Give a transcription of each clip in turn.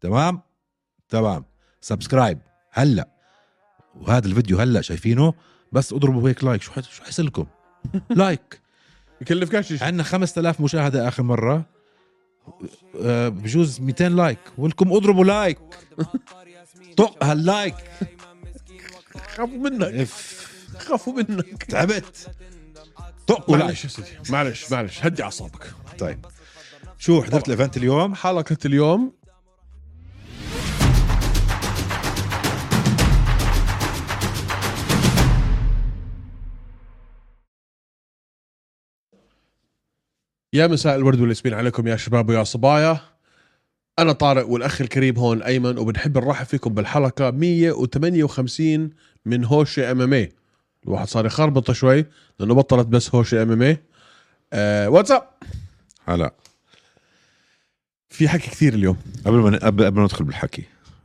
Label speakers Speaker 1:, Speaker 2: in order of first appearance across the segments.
Speaker 1: تمام تمام سبسكرايب هلا وهذا الفيديو هلا شايفينه بس اضربوا هيك لايك شو حس- شو حس لكم لايك
Speaker 2: يكلفكش شيء
Speaker 1: عندنا 5000 مشاهده اخر مره آه، بجوز 200 لايك ولكم اضربوا لايك طق هاللايك
Speaker 2: خافوا منك
Speaker 1: اف
Speaker 2: خافوا منك
Speaker 1: تعبت طقوا لايك
Speaker 2: معلش يا سيدي معلش معلش هدي اعصابك
Speaker 1: طيب شو حضرت الايفنت اليوم
Speaker 2: حلقه اليوم يا مساء الورد والياسمين عليكم يا شباب ويا صبايا انا طارق والاخ الكريم هون ايمن وبنحب نرحب فيكم بالحلقه 158 من هوشه ام ام اي إيه. الواحد صار يخربطه شوي لانه بطلت بس هوشه ام ام اي واتساب
Speaker 1: هلا
Speaker 2: في حكي كثير اليوم
Speaker 1: قبل ما قبل قبل ما ندخل بالحكي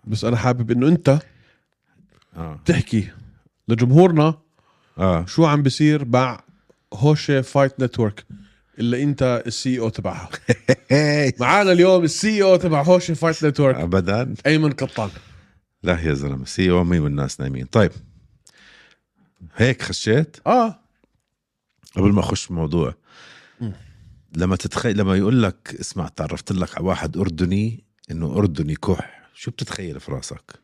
Speaker 2: بس انا حابب انه انت
Speaker 1: اه
Speaker 2: تحكي لجمهورنا
Speaker 1: اه
Speaker 2: شو عم بيصير مع هوشه فايت نتورك اللي انت السي او تبعها
Speaker 1: إيه.
Speaker 2: معانا اليوم السي او تبع هوشه فايت نتورك
Speaker 1: ابدا
Speaker 2: ايمن قطان
Speaker 1: لا يا زلمه سي امي والناس نايمين طيب هيك خشيت
Speaker 2: اه
Speaker 1: قبل ما اخش بموضوع
Speaker 2: مم.
Speaker 1: لما تتخيل لما يقول لك اسمع تعرفت لك على واحد اردني انه اردني كح شو بتتخيل في راسك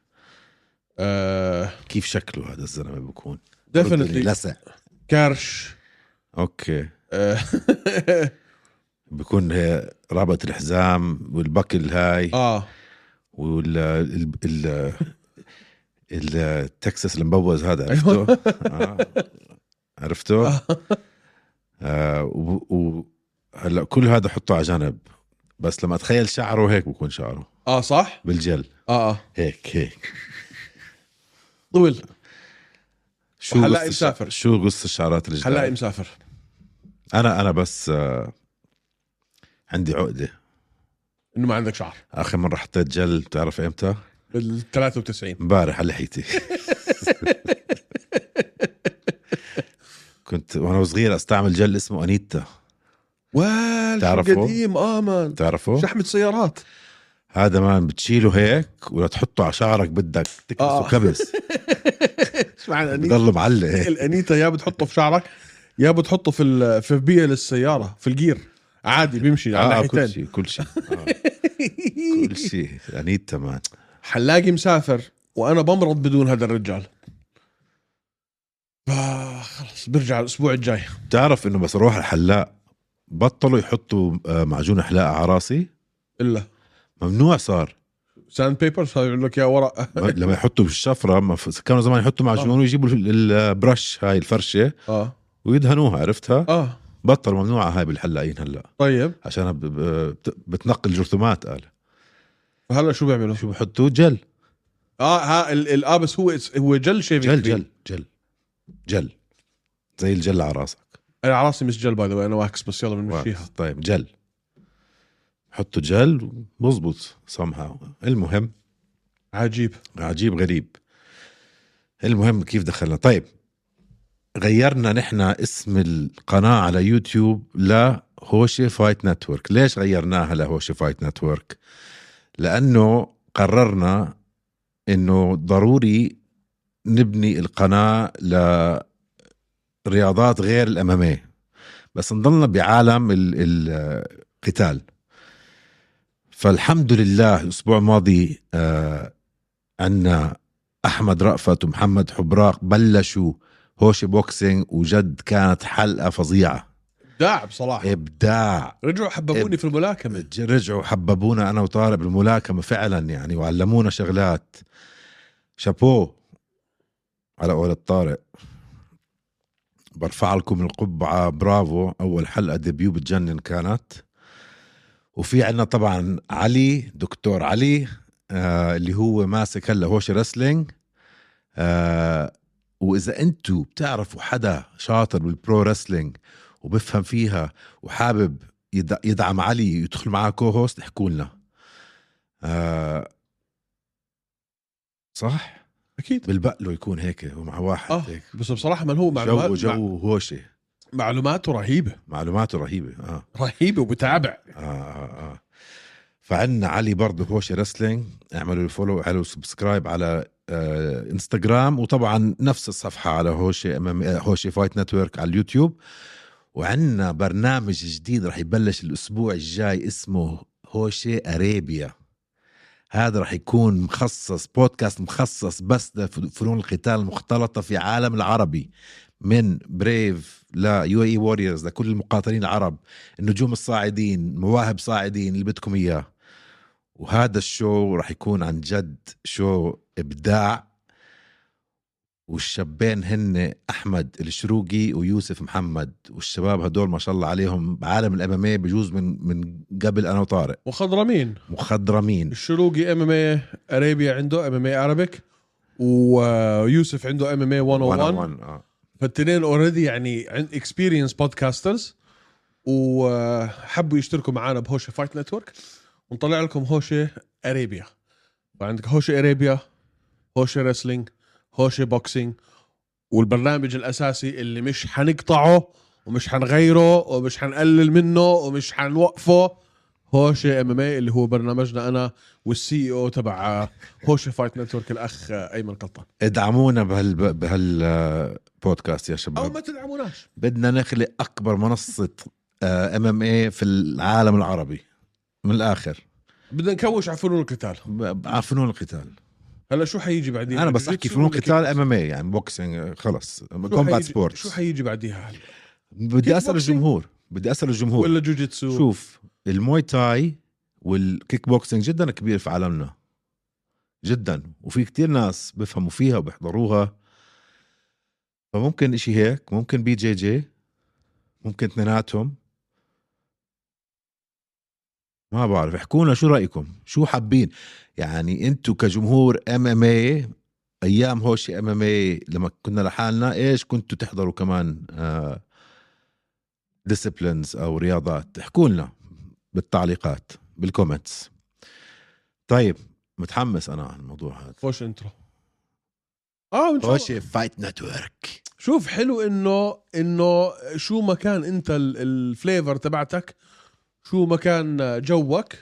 Speaker 2: آه،
Speaker 1: كيف شكله هذا الزلمه بكون أردني
Speaker 2: ديفنتلي
Speaker 1: لسع
Speaker 2: كرش
Speaker 1: اوكي
Speaker 2: آه،
Speaker 1: بكون هي رابط الحزام والبكل هاي
Speaker 2: اه
Speaker 1: وال ال ال ال- التكساس المبوز هذا عرفته آه. عرفته آه و- و- هلا كل هذا حطه على جنب بس لما اتخيل شعره هيك بكون شعره
Speaker 2: اه صح
Speaker 1: بالجل
Speaker 2: اه اه
Speaker 1: هيك هيك
Speaker 2: طول
Speaker 1: شو
Speaker 2: وحلاقي
Speaker 1: قصة
Speaker 2: مسافر.
Speaker 1: الشع- شو قصة الشعرات
Speaker 2: هلا
Speaker 1: الجداد
Speaker 2: مسافر
Speaker 1: انا انا بس آه، عندي عقدة
Speaker 2: انه ما عندك شعر
Speaker 1: اخر مرة حطيت جل بتعرف امتى
Speaker 2: بال 93
Speaker 1: امبارح على لحيتي كنت وانا صغير استعمل جل اسمه انيتا
Speaker 2: وال شو
Speaker 1: تعرفه؟
Speaker 2: قديم اه مان
Speaker 1: بتعرفه
Speaker 2: شحمه سيارات
Speaker 1: هذا مان بتشيله هيك ولا تحطه على شعرك بدك تكبسه
Speaker 2: آه.
Speaker 1: كبس
Speaker 2: ايش معنى أنيتا؟
Speaker 1: بضله معلق هيك.
Speaker 2: الانيتا يا بتحطه في شعرك يا بتحطه في ال- في بيل السياره في الجير عادي بيمشي يعني على
Speaker 1: آه آه، كل
Speaker 2: ناحيتين
Speaker 1: شيء كل شيء آه، كل شيء انيتا مان
Speaker 2: حلاقي مسافر وانا بمرض بدون هذا الرجال آه خلص برجع الاسبوع الجاي
Speaker 1: بتعرف انه بس اروح على الحلاق بطلوا يحطوا آه، معجون حلاقه على راسي
Speaker 2: الا
Speaker 1: ممنوع صار
Speaker 2: ساند بيبر صار يقول لك يا ورق
Speaker 1: ب- لما يحطوا بالشفره ما ف- كانوا زمان يحطوا
Speaker 2: آه.
Speaker 1: معجون ويجيبوا ال- البرش هاي الفرشه
Speaker 2: اه
Speaker 1: ويدهنوها عرفتها
Speaker 2: اه
Speaker 1: بطل ممنوعه هاي بالحلاقين هلا
Speaker 2: طيب
Speaker 1: عشان ب- ب- بت- بتنقل جرثومات قال
Speaker 2: هلا شو بيعملوا؟
Speaker 1: شو بحطوا جل
Speaker 2: اه ها ال- ال- اه بس هو هو جل شيفينج
Speaker 1: جل جل جل جل زي الجل على راسك
Speaker 2: انا على راسي مش جل باي ذا انا واكس بس يلا بنمشيها
Speaker 1: طيب جل حطوا جل بزبط somehow المهم
Speaker 2: عجيب
Speaker 1: عجيب غريب المهم كيف دخلنا طيب غيرنا نحن اسم القناة على يوتيوب لهوشي فايت نتورك ليش غيرناها لهوشي فايت نتورك لأنه قررنا أنه ضروري نبني القناة لرياضات غير الأمامية بس نضلنا بعالم ال- ال- القتال فالحمد لله الأسبوع الماضي آه عنا احمد رأفت ومحمد حبراق بلشوا هوش بوكسينج وجد كانت حلقه فظيعه
Speaker 2: داع
Speaker 1: إيه.
Speaker 2: بصراحه
Speaker 1: ابداع
Speaker 2: رجعوا
Speaker 1: إيه.
Speaker 2: حببوني في الملاكمه
Speaker 1: ج- رجعوا حببونا انا وطارق بالملاكمه فعلا يعني وعلمونا شغلات شابو على قولة طارق برفع لكم القبعه برافو اول حلقه ديبيو بتجنن كانت وفي عنا طبعا علي دكتور علي آه اللي هو ماسك هلا هوش رسلينج آه واذا انتوا بتعرفوا حدا شاطر بالبرو رسلينج وبفهم فيها وحابب يد- يدعم علي يدخل معاه كو هوست احكوا لنا آه صح
Speaker 2: اكيد
Speaker 1: بالبقله يكون هيك هو مع واحد
Speaker 2: اه
Speaker 1: هيك
Speaker 2: بس بصراحه من هو معلومات
Speaker 1: جو جو هوشه
Speaker 2: معلوماته رهيبه
Speaker 1: معلوماته رهيبه اه
Speaker 2: رهيبه وبتابع
Speaker 1: اه اه, آه. فعندنا علي برضه هوشي رسلينج اعملوا له فولو اعملوا سبسكرايب على آه، انستغرام وطبعا نفس الصفحه على هوشي امام هوشي فايت نتورك على اليوتيوب وعندنا برنامج جديد رح يبلش الاسبوع الجاي اسمه هوشي اريبيا هذا رح يكون مخصص بودكاست مخصص بس لفنون القتال المختلطه في عالم العربي من بريف لا يو اي ووريرز E لكل المقاتلين العرب النجوم الصاعدين مواهب صاعدين اللي بدكم اياه وهذا الشو رح يكون عن جد شو ابداع والشابين هن احمد الشروقي ويوسف محمد والشباب هدول ما شاء الله عليهم عالم الاماميه إيه بجوز من من قبل انا وطارق
Speaker 2: وخضرمين
Speaker 1: مخضرمين
Speaker 2: الشروقي ام ام اي اريبيا عنده ام ام اي ارابيك ويوسف عنده oh ام ام اي 101
Speaker 1: 101 آه.
Speaker 2: فالتنين اوريدي يعني عند اكسبيرينس بودكاسترز وحبوا يشتركوا معنا بهوشه فايت نتورك ونطلع لكم هوشه اريبيا فعندك هوشه اريبيا هوشه رسلينج هوشه بوكسينج والبرنامج الاساسي اللي مش حنقطعه ومش حنغيره ومش حنقلل منه ومش حنوقفه هوشه ام ام اي اللي هو برنامجنا انا والسي او تبع هوشه فايت نتورك الاخ ايمن قطان
Speaker 1: ادعمونا بهال بهالبودكاست يا
Speaker 2: او
Speaker 1: شباب
Speaker 2: ما تدعموناش
Speaker 1: بدنا نخلق آه، اكبر منصه ام ام اي إيه في العالم العربي من الاخر
Speaker 2: بدنا نكوش على فنون القتال
Speaker 1: ب- على فنون القتال
Speaker 2: هلا شو حيجي بعدين
Speaker 1: انا بس احكي
Speaker 2: جوجيتسو
Speaker 1: فنون
Speaker 2: ولا
Speaker 1: قتال ام ام اي يعني بوكسينج خلص
Speaker 2: كيك؟
Speaker 1: كومبات
Speaker 2: شو حيجي, شو
Speaker 1: سبورتس
Speaker 2: حيجي بعديها هلا
Speaker 1: بدي اسال
Speaker 2: بوكسينج؟
Speaker 1: الجمهور بدي اسال الجمهور
Speaker 2: ولا جوجيتسو
Speaker 1: شوف الموي تاي والكيك بوكسينج جدا كبير في عالمنا جدا وفي كتير ناس بفهموا فيها وبيحضروها فممكن اشي هيك ممكن بي جي جي ممكن اثنيناتهم ما بعرف احكوا لنا شو رايكم شو حابين يعني انتو كجمهور ام ام اي ايام هوشي ام ام اي لما كنا لحالنا ايش كنتوا تحضروا كمان آه ديسبلينز او رياضات احكوا لنا بالتعليقات بالكومنتس طيب متحمس انا على الموضوع هذا
Speaker 2: فوش انترو اه إن شاء الله.
Speaker 1: هوشي فايت نتورك
Speaker 2: شوف حلو انه انه شو ما كان انت ال- الفليفر تبعتك شو ما كان جوك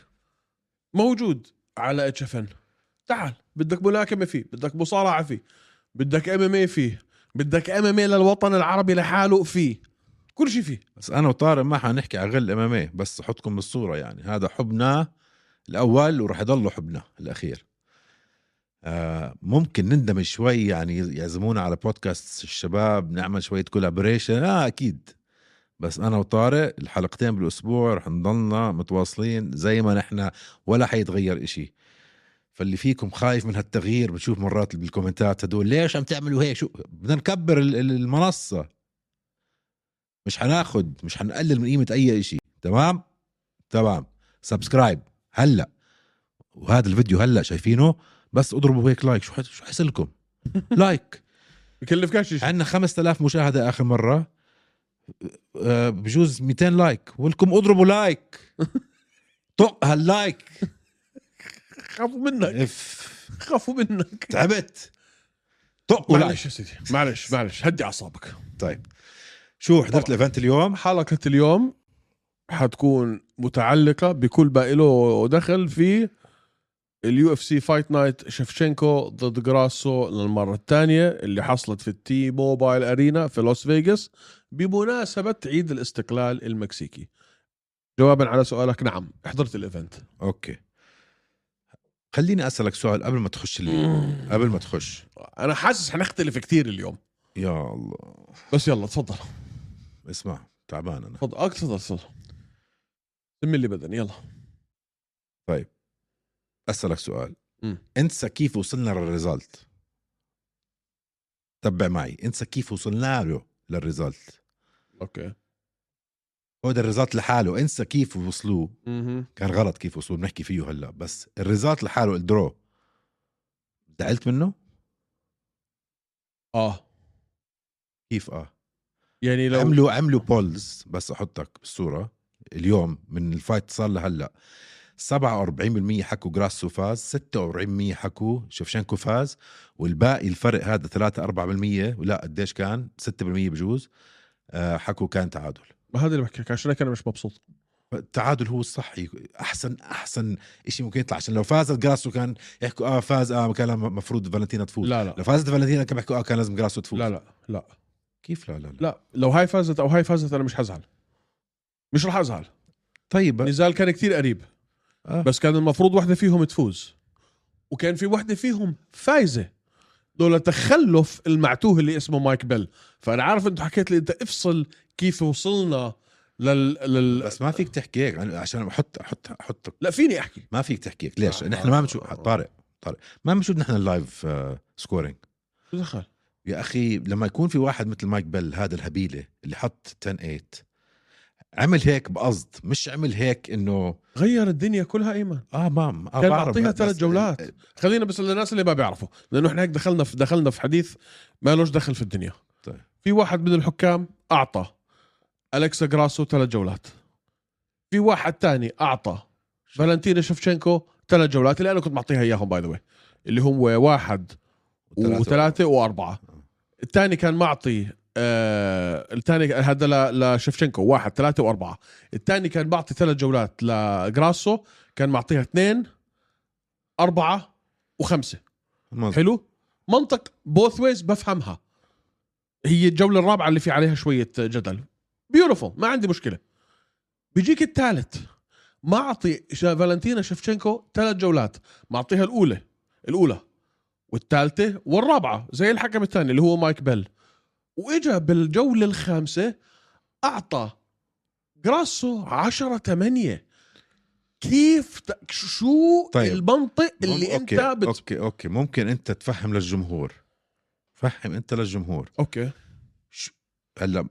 Speaker 2: موجود على اتش اف ان تعال بدك ملاكمه فيه بدك مصارعه فيه بدك ام ام اي فيه بدك ام ام اي للوطن العربي لحاله فيه كل شيء فيه
Speaker 1: بس انا وطارق ما حنحكي على غل اماميه بس احطكم بالصوره يعني هذا حبنا الاول وراح يضل حبنا الاخير آه ممكن نندمج شوي يعني يعزمونا على بودكاست الشباب نعمل شويه كولابريشن اه اكيد بس انا وطارق الحلقتين بالاسبوع رح نضلنا متواصلين زي ما نحن ولا حيتغير إشي فاللي فيكم خايف من هالتغيير بنشوف مرات بالكومنتات هدول ليش عم تعملوا هيك شو بدنا نكبر ال- ال- المنصه مش هناخد مش هنقلل من قيمه اي شيء تمام تمام سبسكرايب هلا وهذا الفيديو هلا شايفينه بس اضربوا هيك لايك شو حس- شو حصلكم لايك
Speaker 2: بكلفكش شيء
Speaker 1: عندنا 5000 مشاهده اخر مره آه، بجوز 200 لايك ولكم اضربوا لايك طق هاللايك
Speaker 2: خافوا منك
Speaker 1: اف
Speaker 2: خافوا منك
Speaker 1: تعبت طق ولايك
Speaker 2: معلش يا سيدي معلش معلش هدي اعصابك
Speaker 1: طيب شو حضرت الايفنت اليوم
Speaker 2: حلقه اليوم حتكون متعلقه بكل ما له دخل في اليو اف سي فايت نايت شفشنكو ضد جراسو للمره الثانيه اللي حصلت في التي موبايل ارينا في لوس فيغاس بمناسبه عيد الاستقلال المكسيكي جوابا على سؤالك نعم حضرت الايفنت
Speaker 1: اوكي خليني اسالك سؤال قبل ما تخش لي قبل ما تخش
Speaker 2: انا حاسس حنختلف كثير اليوم
Speaker 1: يا الله
Speaker 2: بس يلا تفضل
Speaker 1: اسمع تعبان انا
Speaker 2: تفضل آه، تفضل تفضل سمي اللي بدني يلا
Speaker 1: اسالك سؤال
Speaker 2: مم.
Speaker 1: انسى كيف وصلنا للريزلت تبع معي انسى كيف وصلنا له للريزلت
Speaker 2: اوكي
Speaker 1: هو ده الريزلت لحاله انسى كيف وصلوه
Speaker 2: مهم.
Speaker 1: كان غلط كيف وصلوه بنحكي فيه هلا بس الريزلت لحاله الدرو زعلت منه
Speaker 2: اه
Speaker 1: كيف اه
Speaker 2: يعني لو
Speaker 1: عملوا عملوا بولز بس احطك بالصوره اليوم من الفايت صار لهلا 47% حكوا جراسو فاز 46% حكوا شفشنكو فاز والباقي الفرق هذا 3 4% ولا قديش كان 6% بجوز آه، حكوا كان تعادل
Speaker 2: ما هذا اللي بحكي لك عشان هيك انا مش مبسوط
Speaker 1: التعادل هو الصحي احسن احسن شيء ممكن يطلع عشان لو فازت جراسو كان يحكوا اه فاز اه كان المفروض فالنتينا تفوز
Speaker 2: لا
Speaker 1: لو
Speaker 2: لا
Speaker 1: فازت فالنتينا كان بيحكوا اه كان لازم جراسو تفوز
Speaker 2: لا لا لا
Speaker 1: كيف لا لا لا,
Speaker 2: لا لو هاي فازت او هاي فازت انا مش حزعل مش رح ازعل
Speaker 1: طيب
Speaker 2: النزال كان كتير قريب
Speaker 1: آه.
Speaker 2: بس كان المفروض واحدة فيهم تفوز وكان في واحدة فيهم فايزة دول تخلف المعتوه اللي اسمه مايك بيل فأنا عارف أنت حكيت لي أنت افصل كيف وصلنا لل... لل...
Speaker 1: بس ما فيك تحكي هيك يعني عشان احط احط احط
Speaker 2: لا فيني أحكي
Speaker 1: ما فيك تحكي هيك ليش؟
Speaker 2: آه.
Speaker 1: نحن ما بنشوف طارق طارق ما بنشوف نحن اللايف آه، سكورينج
Speaker 2: شو دخل
Speaker 1: يا اخي لما يكون في واحد مثل مايك بيل هذا الهبيله اللي حط 10 8 عمل هيك بقصد مش عمل هيك انه
Speaker 2: غير الدنيا كلها ايمن
Speaker 1: اه مام آه
Speaker 2: كان
Speaker 1: بعرف،
Speaker 2: بعطيها
Speaker 1: بس-
Speaker 2: ثلاث جولات
Speaker 1: آه،
Speaker 2: خلينا بس للناس اللي ما بيعرفوا لانه احنا هيك دخلنا في دخلنا في حديث ما لوش دخل في الدنيا
Speaker 1: طيب.
Speaker 2: في واحد من الحكام اعطى الكسا جراسو ثلاث جولات في واحد تاني اعطى فالنتينا شفشنكو ثلاث جولات اللي انا كنت معطيها اياهم باي ذا اللي هم واحد
Speaker 1: وثلاثة.
Speaker 2: وثلاثة وأربعة الثاني كان معطي آه الثاني هذا ل- لشفشنكو واحد ثلاثة وأربعة الثاني كان معطي ثلاث جولات لجراسو كان معطيها اثنين أربعة وخمسة
Speaker 1: مظبوط.
Speaker 2: حلو منطق بوث ويز بفهمها هي الجولة الرابعة اللي في عليها شوية جدل بيوتيفول ما عندي مشكلة بيجيك الثالث معطي شا- فالنتينا شفشنكو ثلاث جولات معطيها الأولى الأولى والثالثة والرابعة زي الحكم الثاني اللي هو مايك بيل وإجا بالجولة الخامسة أعطى جراسو 10 8 كيف ت- شو
Speaker 1: طيب.
Speaker 2: طيب. المنطق اللي
Speaker 1: أوكي.
Speaker 2: انت بت...
Speaker 1: اوكي اوكي ممكن انت تفهم للجمهور فهم انت للجمهور
Speaker 2: اوكي
Speaker 1: هلا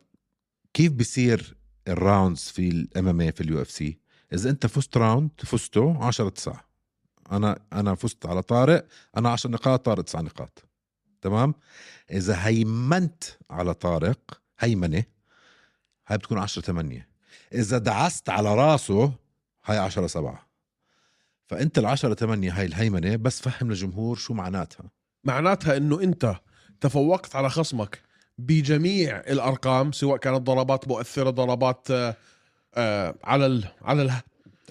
Speaker 1: كيف بصير الراوندز في الام ام في اليو اف سي اذا انت فزت راوند فزته 10 9 انا انا فزت على طارق انا 10 نقاط طارق 9 نقاط تمام اذا هيمنت على طارق هيمنه هاي بتكون 10 8 اذا دعست على راسه هاي 10 7 فانت ال 10 8 هاي الهيمنه بس فهم للجمهور شو معناتها
Speaker 2: معناتها انه انت تفوقت على خصمك بجميع الارقام سواء كانت ضربات مؤثره ضربات آه، آه، على ال على ال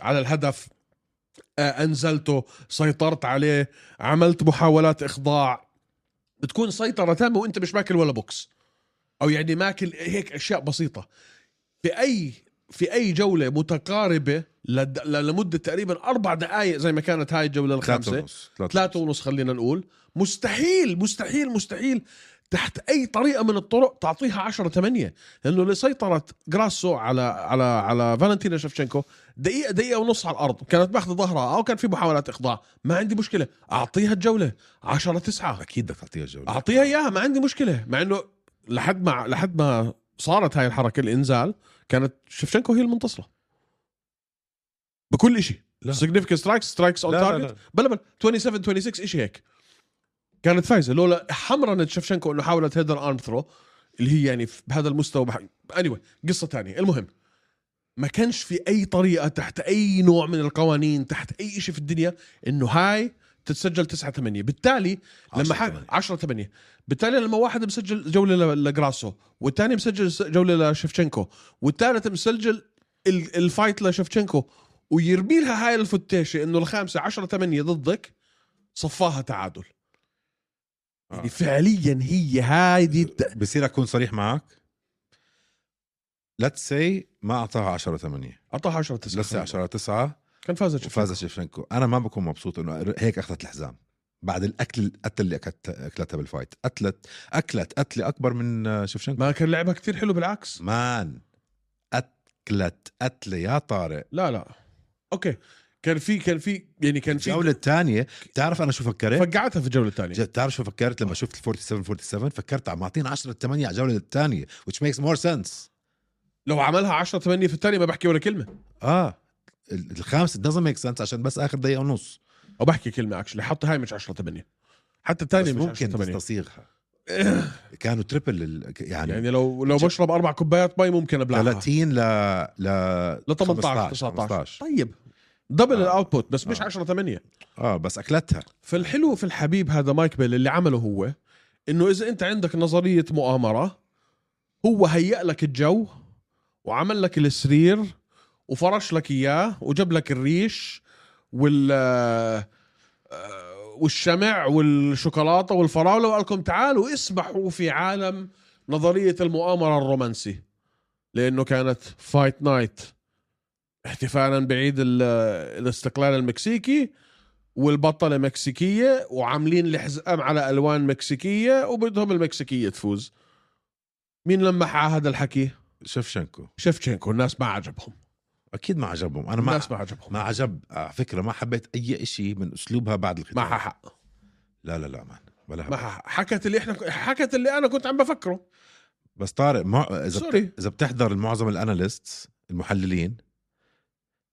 Speaker 2: على الهدف آه، انزلته سيطرت عليه عملت محاولات اخضاع بتكون سيطره تامه وانت مش ماكل ولا بوكس او يعني ماكل هيك اشياء بسيطه في اي في اي جوله متقاربه لد- لمده تقريبا اربع دقائق زي ما كانت هاي الجوله
Speaker 1: ثلاثة
Speaker 2: الخامسه
Speaker 1: ونص ثلاثة
Speaker 2: ثلاثة ونص خلينا نقول مستحيل مستحيل مستحيل تحت اي طريقه من الطرق تعطيها 10 8 لانه اللي سيطرت جراسو على على على فالنتينا شفشنكو دقيقه دقيقه ونص على الارض كانت ماخذه ظهرها او كان في محاولات اخضاع ما عندي مشكله اعطيها الجوله 10 9
Speaker 1: اكيد بدك تعطيها الجوله
Speaker 2: اعطيها اياها ما عندي مشكله مع انه لحد ما لحد ما صارت هاي الحركه الانزال كانت شفشنكو هي المنتصره بكل شيء
Speaker 1: لا.
Speaker 2: سيجنفكت سترايكس سترايكس اون
Speaker 1: لا، لا،
Speaker 2: تارجت
Speaker 1: لا.
Speaker 2: بلا بلا 27 26 شيء هيك كانت فايزه لولا حمرنت شفشنكو انه حاولت هيدر ارم ثرو اللي هي يعني في- بهذا المستوى بح... anyway قصه تانية المهم ما كانش في اي طريقه تحت اي نوع من القوانين تحت اي شيء في الدنيا انه هاي تتسجل 9 8 بالتالي لما
Speaker 1: 10
Speaker 2: ح...
Speaker 1: 8.
Speaker 2: 10 8 بالتالي لما واحد مسجل جوله ل- لجراسو والثاني مسجل س- جوله لشفشنكو والثالث مسجل ال- الفايت لشفشنكو ويرمي لها هاي الفتيشه انه الخامسه 10 8 ضدك صفاها تعادل
Speaker 1: آه.
Speaker 2: يعني فعليا هي هاي
Speaker 1: بصير اكون صريح معك ليتس سي ما اعطاها 10 8
Speaker 2: اعطاها 10 9
Speaker 1: لسه 10 9
Speaker 2: كان فازت
Speaker 1: وفاز شيفشنكو انا ما بكون مبسوط انه هيك اخذت الحزام بعد الاكل القتل اللي أكلت اكلتها بالفايت قتلت اكلت قتله اكبر من آه، شيفشنكو
Speaker 2: ما كان لعبها كتير حلو بالعكس
Speaker 1: مان اكلت قتله يا طارق
Speaker 2: لا لا اوكي كان في كان في يعني كان في
Speaker 1: الجوله الثانيه بتعرف انا شو فكرت؟
Speaker 2: فقعتها في الجوله الثانيه
Speaker 1: ج- بتعرف شو فكرت لما شفت ال 47 47 فكرت عم معطين 10 8 على الجوله الثانيه which makes more sense
Speaker 2: لو عملها 10 8 في الثانيه ما بحكي ولا كلمه
Speaker 1: اه ال- الخامس it doesn't make sense عشان بس اخر دقيقه ونص
Speaker 2: او بحكي كلمه اكشلي حط هاي مش 10 8 حتى الثانيه
Speaker 1: بس
Speaker 2: مش 10
Speaker 1: طيب، ممكن
Speaker 2: 8
Speaker 1: تستصيغها كانوا تريبل ال- يعني,
Speaker 2: يعني لو لو بشرب اربع كوبايات مي ممكن ابلعها
Speaker 1: 30 ل ل
Speaker 2: ل 18 19
Speaker 1: 15
Speaker 2: طيب دبل
Speaker 1: آه.
Speaker 2: الاوتبوت بس مش
Speaker 1: آه.
Speaker 2: 10 8
Speaker 1: اه بس اكلتها
Speaker 2: فالحلو في الحبيب هذا مايك بيل اللي عمله هو انه اذا انت عندك نظريه مؤامره هو هيأ لك الجو وعمل لك السرير وفرش لك اياه وجاب لك الريش وال آه، والشمع والشوكولاته والفراوله وقال لكم تعالوا اسبحوا في عالم نظريه المؤامره الرومانسي لانه كانت فايت نايت احتفالا بعيد ال- الاستقلال المكسيكي والبطله مكسيكيه وعاملين الحزام على الوان مكسيكيه وبدهم المكسيكيه تفوز مين لمح على هذا الحكي؟
Speaker 1: شفشنكو
Speaker 2: شفتشينكو الناس ما عجبهم
Speaker 1: اكيد ما عجبهم انا ما
Speaker 2: الناس ما عجبهم
Speaker 1: ما عجب على فكره ما حبيت اي شيء من اسلوبها بعد الختام
Speaker 2: معها حق
Speaker 1: لا لا لا مان ولا حبيت.
Speaker 2: معها حق حكت اللي احنا حكت اللي انا كنت عم بفكره
Speaker 1: بس طارق ما اذا بت-
Speaker 2: سوري
Speaker 1: اذا بتحضر معظم الاناليست المحللين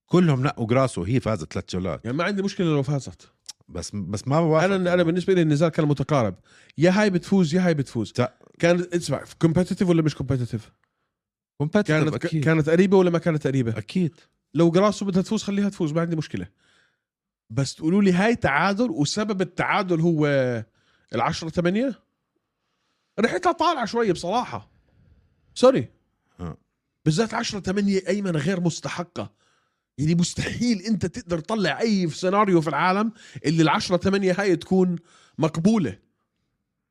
Speaker 1: كلهم نقوا جراسو هي فازت ثلاث جولات
Speaker 2: يعني ما عندي مشكله لو فازت
Speaker 1: بس بس ما بوافق
Speaker 2: انا انا بالنسبه لي النزال كان متقارب يا هاي بتفوز يا هاي بتفوز
Speaker 1: تا-
Speaker 2: كان اسمع كومبتيتيف ولا مش كومبتيتيف
Speaker 1: كانت
Speaker 2: كانت
Speaker 1: اكيد
Speaker 2: كانت قريبه ولا ما كانت قريبه
Speaker 1: اكيد
Speaker 2: لو جراسو بدها تفوز خليها تفوز ما عندي مشكله بس تقولوا لي هاي تعادل وسبب التعادل هو العشرة ثمانية ريحتها طالعة شوي بصراحة سوري
Speaker 1: آه.
Speaker 2: بالذات 10 8 ايمن غير مستحقة يعني مستحيل انت تقدر تطلع اي سيناريو في العالم اللي ال 10 8 هاي تكون مقبولة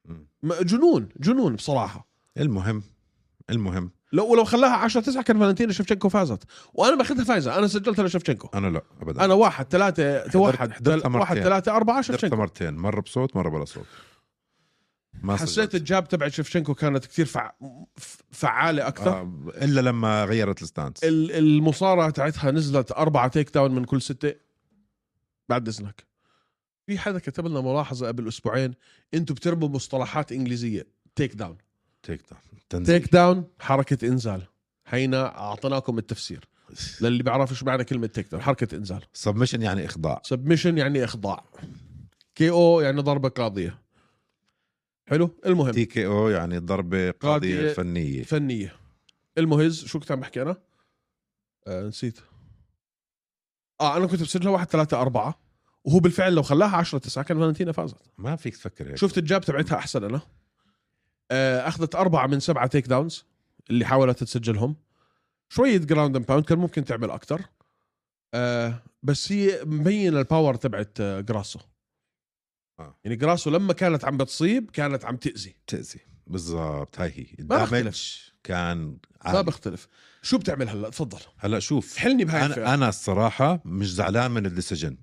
Speaker 1: مم.
Speaker 2: ما- جنون جنون بصراحة
Speaker 1: المهم المهم
Speaker 2: لو ولو خلاها 10 9 كان فالنتينا شفشنكو فازت وانا باخذها فايزة انا سجلت على شفشنكو
Speaker 1: انا لا ابدا
Speaker 2: انا واحد ثلاثة واحد
Speaker 1: حضرتها
Speaker 2: تل- واحد
Speaker 1: مرتين.
Speaker 2: ثلاثة أربعة
Speaker 1: حضرتها
Speaker 2: شفشنكو
Speaker 1: مرتين مره بصوت مره بلا صوت ما
Speaker 2: حسيت
Speaker 1: سجلت.
Speaker 2: الجاب تبع شفشنكو كانت كثير فع... ف- فعالة أكثر
Speaker 1: آه الا لما غيرت الستانس
Speaker 2: ال- المصارعة تاعتها نزلت أربعة تيك داون من كل ستة بعد إذنك في حدا كتب لنا ملاحظة قبل أسبوعين أنتوا بتربوا مصطلحات إنجليزية تيك داون
Speaker 1: تيك داون تنزيل
Speaker 2: تيك داون حركة إنزال هينا أعطيناكم التفسير للي بيعرفش معنى كلمة تيك داون حركة إنزال
Speaker 1: سبمشن يعني اخضاع
Speaker 2: سبمشن يعني إخضاع كي أو يعني ضربة قاضية حلو المهم
Speaker 1: تي كي او يعني ضربه قاضيه
Speaker 2: قاضية
Speaker 1: فنيه
Speaker 2: فنيه المهز شو كنت عم بحكي انا؟ آه نسيت اه انا كنت بسجلها 1 3 4 وهو بالفعل لو خلاها 10 9 كان فالنتينا فازت
Speaker 1: ما فيك تفكر هيك
Speaker 2: شفت الجاب تبعتها احسن انا آه اخذت اربعه من سبعه تيك داونز اللي حاولت تسجلهم شويه جراوند اند باوند كان ممكن تعمل اكثر آه بس هي مبينه الباور تبعت آه، جراسو
Speaker 1: آه.
Speaker 2: يعني جراسو لما كانت عم بتصيب كانت عم تاذي
Speaker 1: تاذي بالضبط هاي هي
Speaker 2: ما بختلف.
Speaker 1: الدمج كان
Speaker 2: ما
Speaker 1: عالي
Speaker 2: بختلف شو بتعمل هلا تفضل
Speaker 1: هلا شوف
Speaker 2: حلني بهاي الفئة.
Speaker 1: انا انا الصراحه مش زعلان من الديسيجن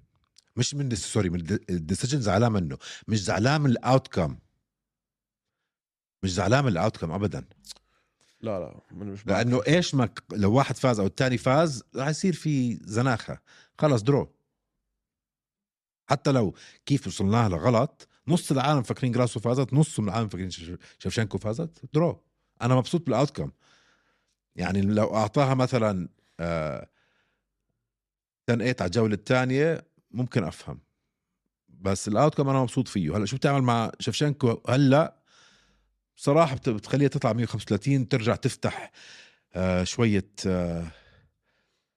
Speaker 1: مش من الدس- سوري من الد- الديسيجن زعلان منه مش زعلان من الاوت كم مش زعلان من الاوت كم ابدا
Speaker 2: لا لا من مش بعرف.
Speaker 1: لانه ايش ما ك- لو واحد فاز او الثاني فاز رح يصير في زناخه خلص درو حتى لو كيف وصلناها لغلط نص العالم فاكرين جراسو فازت نص من العالم فاكرين شف- شفشنكو فازت درو انا مبسوط بالاوتكم يعني لو اعطاها مثلا آه 10 8 على الجوله الثانيه ممكن افهم بس الاوتكم انا مبسوط فيه هلا شو بتعمل مع شفشنكو هلا بصراحه بت- بتخليها تطلع 135 ترجع تفتح آه شويه آه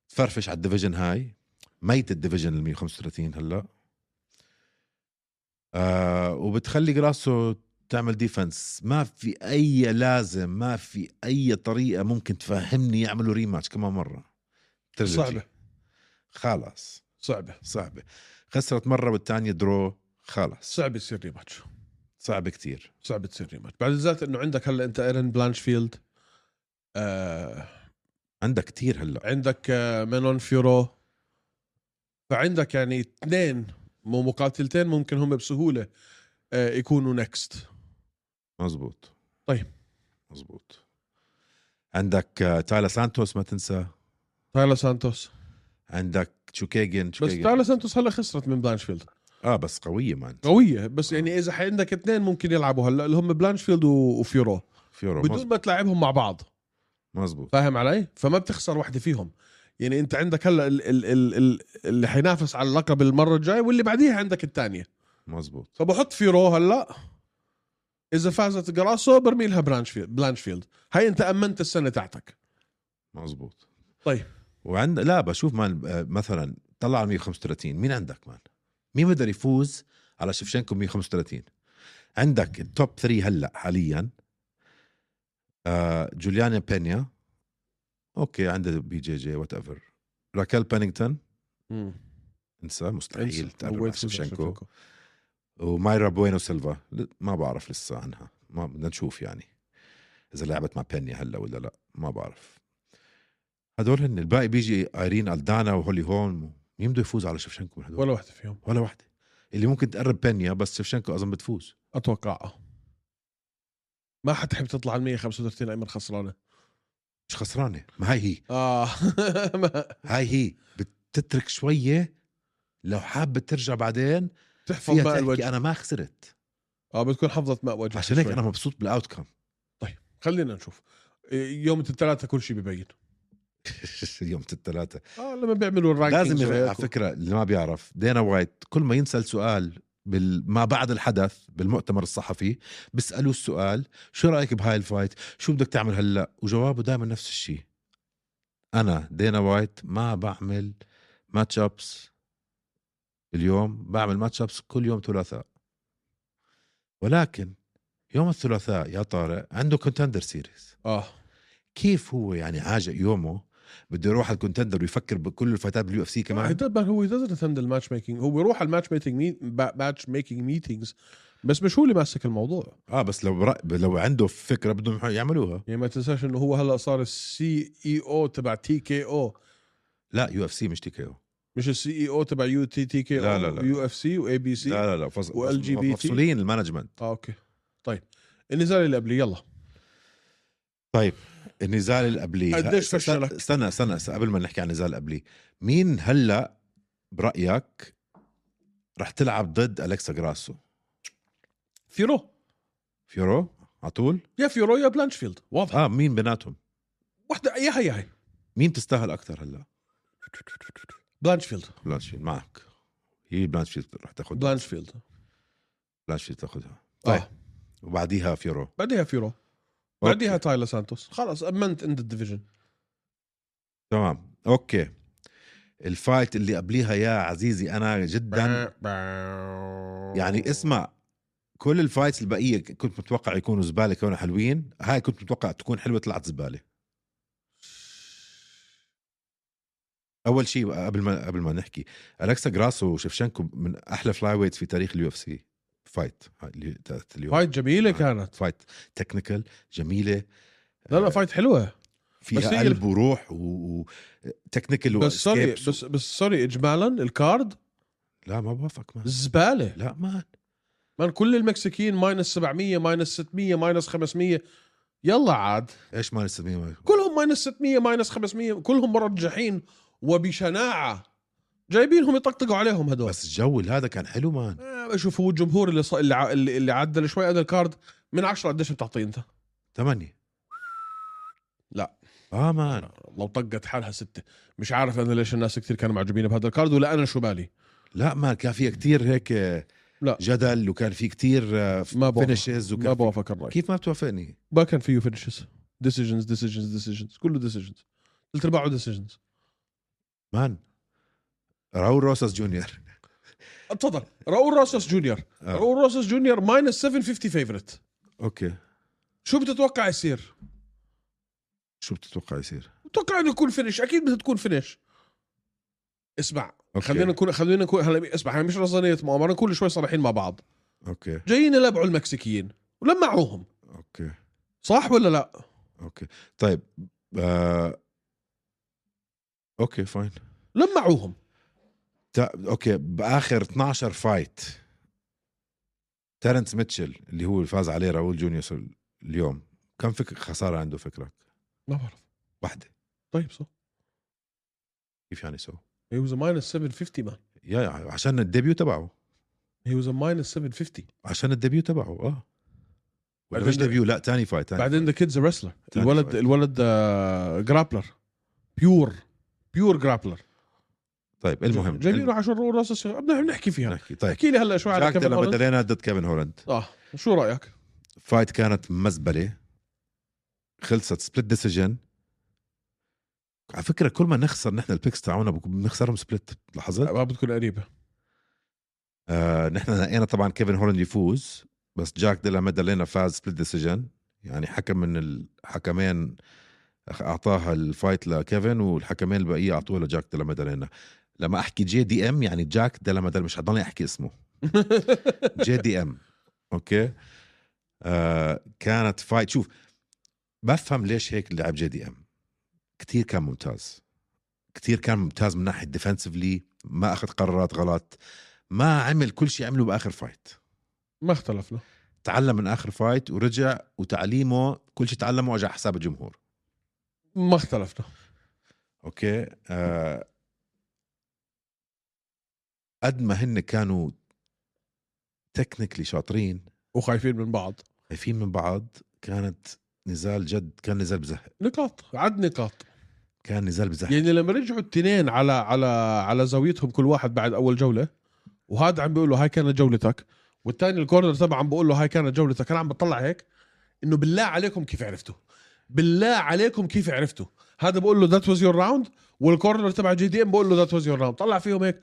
Speaker 1: تفرفش على الديفيجن هاي ميت الديفيجن ال 135 هلا آه وبتخلي جراسو تعمل ديفنس ما في اي لازم ما في اي طريقه ممكن تفهمني يعملوا ريماتش كمان مره ترجع
Speaker 2: صعبه
Speaker 1: خلاص
Speaker 2: صعبه
Speaker 1: صعبه خسرت مره والثانيه درو خلاص
Speaker 2: صعبه تصير ريماتش
Speaker 1: صعب كتير
Speaker 2: صعبه تصير ريماتش بعد ذات انه عندك هلا انت ايرن بلانشفيلد آه
Speaker 1: عندها كتير هلا
Speaker 2: عندك آه مينون فيورو فعندك يعني اثنين مو مقاتلتين ممكن هم بسهوله آه يكونوا نكست
Speaker 1: مزبوط
Speaker 2: طيب.
Speaker 1: مزبوط عندك آه، تايلا سانتوس ما تنسى
Speaker 2: تايلا سانتوس
Speaker 1: عندك تشوكيجن
Speaker 2: بس
Speaker 1: تشوكيجن
Speaker 2: تايلا سانتوس هلا خسرت من بلانشفيلد
Speaker 1: اه بس قويه مان
Speaker 2: قويه بس يعني اذا عندك اثنين ممكن يلعبوا هلا اللي هم بلانشفيلد و- وفيورو
Speaker 1: فيورو
Speaker 2: بدون ما تلعبهم مع بعض
Speaker 1: مزبوط
Speaker 2: فاهم علي؟ فما بتخسر واحدة فيهم يعني انت عندك هلا ال- ال- ال- ال- اللي حينافس على اللقب المرة الجاية واللي بعديها عندك الثانية
Speaker 1: مزبوط
Speaker 2: فبحط فيرو هلا إذا فازت جراسو برمي لها برانشفيلد بلانشفيلد هاي انت أمنت السنة تاعتك
Speaker 1: مزبوط
Speaker 2: طيب.
Speaker 1: وعند لا بشوف مان آه، مثلا طلع على 135 مين عندك مان مين بقدر يفوز على شفشنكو 135 عندك التوب 3 هلا حاليا آه جوليانا بينيا اوكي عنده بي جي جي وات ايفر راكال بانينغتون
Speaker 2: مم.
Speaker 1: انسى مستحيل
Speaker 2: انسى.
Speaker 1: تقرب
Speaker 2: أول
Speaker 1: مع
Speaker 2: فوز
Speaker 1: شفشنكو
Speaker 2: لشفشنكو.
Speaker 1: ومايرا بوينو سيلفا ل- ما بعرف لسه عنها ما بدنا نشوف يعني اذا لعبت مع بينيا هلا ولا لا ما بعرف هدول هن الباقي بيجي ايرين الدانا وهولي هون مين بده يفوز على شفشنكو من هدول
Speaker 2: ولا واحده فيهم
Speaker 1: ولا وحده اللي ممكن تقرب بينيا بس شفشنكو اظن بتفوز
Speaker 2: اتوقع آه. ما حتحب تطلع على 135 ايمن خسرانه
Speaker 1: مش خسرانه ما هاي هي
Speaker 2: اه ما-
Speaker 1: هاي هي بتترك شويه لو حابه ترجع بعدين
Speaker 2: تحفظ
Speaker 1: فيها
Speaker 2: ماء
Speaker 1: تحكي
Speaker 2: الوجه
Speaker 1: انا ما خسرت
Speaker 2: اه بتكون حفظت ماء وجه
Speaker 1: عشان هيك
Speaker 2: شوي.
Speaker 1: انا مبسوط بالاوتكم
Speaker 2: خلينا نشوف إيه، يوم الثلاثاء كل شيء ببين
Speaker 1: يوم الثلاثة
Speaker 2: اه لما بيعملوا الرانكينج
Speaker 1: لازم يغ- على فكرة اللي ما بيعرف دينا وايت كل ما ينسأل سؤال بال... ما بعد الحدث بالمؤتمر الصحفي بيسألوه السؤال شو رأيك بهاي الفايت شو بدك تعمل هلا وجوابه دائما نفس الشيء أنا دينا وايت ما بعمل ماتش أبس اليوم بعمل ماتش أبس كل يوم ثلاثاء ولكن يوم الثلاثاء يا طارق عنده كونتندر سيريز
Speaker 2: اه
Speaker 1: كيف هو يعني عاجق يومه بده يروح على الكونتندر ويفكر بكل الفتاة باليو اف سي
Speaker 2: كمان
Speaker 1: كمان
Speaker 2: هو هو دزنت هاند الماتش ميكينج هو بيروح على الماتش ميتنج ماتش ميكينج ميتينجز بس مش هو اللي ماسك الموضوع
Speaker 1: اه بس لو رأ... لو عنده فكره بدهم يح- يعملوها
Speaker 2: يعني ما تنساش انه هو هلا صار السي اي او تبع تي كي او
Speaker 1: لا يو اف سي مش تي كي
Speaker 2: مش السي اي او تبع يو تي تي كي او
Speaker 1: لا، لا، لا.
Speaker 2: يو اف سي واي بي سي
Speaker 1: لا لا لا فص...
Speaker 2: وال جي بي تي.
Speaker 1: مفصولين المانجمنت
Speaker 2: اه اوكي طيب النزال اللي قبليه يلا
Speaker 1: طيب النزال اللي قبليه
Speaker 2: قديش
Speaker 1: س- س-
Speaker 2: فشلك؟
Speaker 1: استنى استنى استنى، قبل ما نحكي عن النزال اللي قبليه مين هلا برايك رح تلعب ضد الكسا جراسو
Speaker 2: فيرو
Speaker 1: فيورو على طول
Speaker 2: يا فيرو يا بلانشفيلد واضح
Speaker 1: اه مين بيناتهم
Speaker 2: وحده يا هي يا هي
Speaker 1: مين تستاهل اكثر هلا
Speaker 2: بلانشفيلد
Speaker 1: بلانشفيلد معك هي بلانشفيلد رح تاخذ
Speaker 2: بلانشفيلد
Speaker 1: بلانشفيلد تاخذها
Speaker 2: طيب
Speaker 1: طيب. وبعديها فيورو
Speaker 2: بعدها فيرو بعدها تايلا سانتوس خلاص امنت انت الديفيجن
Speaker 1: تمام اوكي الفايت اللي قبليها يا عزيزي انا جدا يعني اسمع كل الفايتس البقيه كنت متوقع يكونوا زباله كانوا حلوين هاي كنت متوقع تكون حلوه طلعت زباله اول شيء قبل ما قبل ما نحكي الكسا جراسو وشفشنكو من احلى فلاي ويت في تاريخ اليو اف سي فايت هاي اللي تاعت اليوم
Speaker 2: فايت جميله كانت
Speaker 1: فايت تكنيكال جميله
Speaker 2: لا لا فايت حلوه بس
Speaker 1: آه، فيها
Speaker 2: هي-
Speaker 1: قلب وروح وتكنيكال
Speaker 2: بس سوري بس بس سوري اجمالا الكارد
Speaker 1: لا ما بوافق مان
Speaker 2: زباله
Speaker 1: لا مان
Speaker 2: من كل المكسيكيين ماينس 700 ماينس 600 ماينس 500 يلا عاد
Speaker 1: ايش ما نستخدمه
Speaker 2: كلهم ماينس 600 ماينس 500 كلهم مرجحين وبشناعه جايبينهم يطقطقوا عليهم هدول
Speaker 1: بس الجو هذا كان حلو مان
Speaker 2: آه، بشوف هو الجمهور اللي ص... اللي, ع... اللي اللي عدل شوي هذا الكارد من 10 قديش بتعطيه انت؟
Speaker 1: ثمانية
Speaker 2: لا.
Speaker 1: اه مان
Speaker 2: لو طقت حالها ستة مش عارف انا ليش الناس كثير كانوا معجبين بهذا الكارد ولا انا شو بالي
Speaker 1: لا مان كان في كتير هيك آه،
Speaker 2: لا.
Speaker 1: جدل وكان في كتير
Speaker 2: ما بوافق.
Speaker 1: فينشز
Speaker 2: ما
Speaker 1: وكان في...
Speaker 2: بوافق الراي
Speaker 1: كيف ما بتوافقني؟
Speaker 2: ما كان فيه فينشز ديسيجنز ديسيجنز ديسيجنز كله ديسيجنز ثلاث ارباعه ديسيجنز
Speaker 1: مان راول روساس جونيور
Speaker 2: اتفضل راؤول روسوس جونيور
Speaker 1: آه.
Speaker 2: راؤول روسوس جونيور ماينس 750 فيفورت
Speaker 1: اوكي
Speaker 2: شو بتتوقع يصير؟
Speaker 1: شو بتتوقع يصير؟
Speaker 2: بتوقع انه يكون فينش اكيد بدها تكون فينش اسمع
Speaker 1: أوكي.
Speaker 2: خلينا نكون خلينا نكون هلا اسمع احنا مش رزانية مؤامرة كل شوي صريحين مع بعض
Speaker 1: اوكي
Speaker 2: جايين يلعبوا المكسيكيين ولمعوهم
Speaker 1: اوكي
Speaker 2: صح ولا لا؟
Speaker 1: اوكي طيب آه... اوكي فاين
Speaker 2: لمعوهم
Speaker 1: تا... اوكي باخر 12 فايت تيرنس ميتشل اللي هو اللي فاز عليه راول جونيور اليوم كم فكر خساره عنده فكرك؟
Speaker 2: ما بعرف
Speaker 1: واحده
Speaker 2: طيب صح
Speaker 1: كيف يعني سو؟
Speaker 2: هي واز ماينس 750 مان
Speaker 1: يا يا عشان الديبيو تبعه
Speaker 2: هي واز ماينس 750
Speaker 1: عشان الديبيو تبعه اه ولا
Speaker 2: بعدين
Speaker 1: مش
Speaker 2: ده-
Speaker 1: ديبيو لا تاني فايت تاني
Speaker 2: بعدين ذا كيدز ريسلر
Speaker 1: تاني
Speaker 2: الولد
Speaker 1: فايت.
Speaker 2: الولد آه، جرابلر بيور بيور جرابلر
Speaker 1: طيب المهم
Speaker 2: جايبينه عشان رو راس بدنا نحكي فيها
Speaker 1: نحكي طيب
Speaker 2: احكي لي هلا شو على
Speaker 1: جاك
Speaker 2: كيفن
Speaker 1: ديلا
Speaker 2: هولاند
Speaker 1: مدلينا ضد كيفن هولاند
Speaker 2: اه شو رايك؟
Speaker 1: فايت كانت مزبله خلصت سبليت ديسيجن على فكره كل ما نخسر نحن البيكس تاعونا بك- بنخسرهم سبليت لاحظت؟
Speaker 2: ما بتكون قريبه
Speaker 1: آه نحن نقينا طبعا كيفن هولاند يفوز بس جاك ديلا ميدالينا فاز سبليت ديسيجن يعني حكم من الحكمين اعطاها الفايت لكيفن والحكمين الباقيه اعطوها لجاك ديلا مادالينا لما احكي جي دي ام يعني جاك ديلا مادالينا مش حضلني احكي اسمه جي دي ام اوكي آه كانت فايت شوف بفهم ليش هيك لعب جي دي ام كثير كان ممتاز كثير كان ممتاز من ناحيه ديفنسفلي ما اخذ قرارات غلط ما عمل كل شيء عمله باخر فايت
Speaker 2: ما اختلفنا
Speaker 1: تعلم من اخر فايت ورجع وتعليمه كل شيء تعلمه اجى على حساب الجمهور
Speaker 2: ما اختلفنا
Speaker 1: اوكي آه قد ما هن كانوا تكنيكلي شاطرين
Speaker 2: وخايفين من بعض
Speaker 1: خايفين من بعض كانت نزال جد كان نزال بزهق
Speaker 2: نقاط عد نقاط
Speaker 1: كان نزال بزهق
Speaker 2: يعني لما رجعوا التنين على على على زاويتهم كل واحد بعد اول جوله وهذا عم بيقول له هاي كانت جولتك والثاني الكورنر تبعه عم بيقول له هاي كانت جولتك كان عم بطلع هيك انه بالله عليكم كيف عرفتوا بالله عليكم كيف عرفتوا هذا بقول له ذات واز يور راوند والكورنر تبع جي دي ام بقول له ذات واز يور راوند طلع فيهم هيك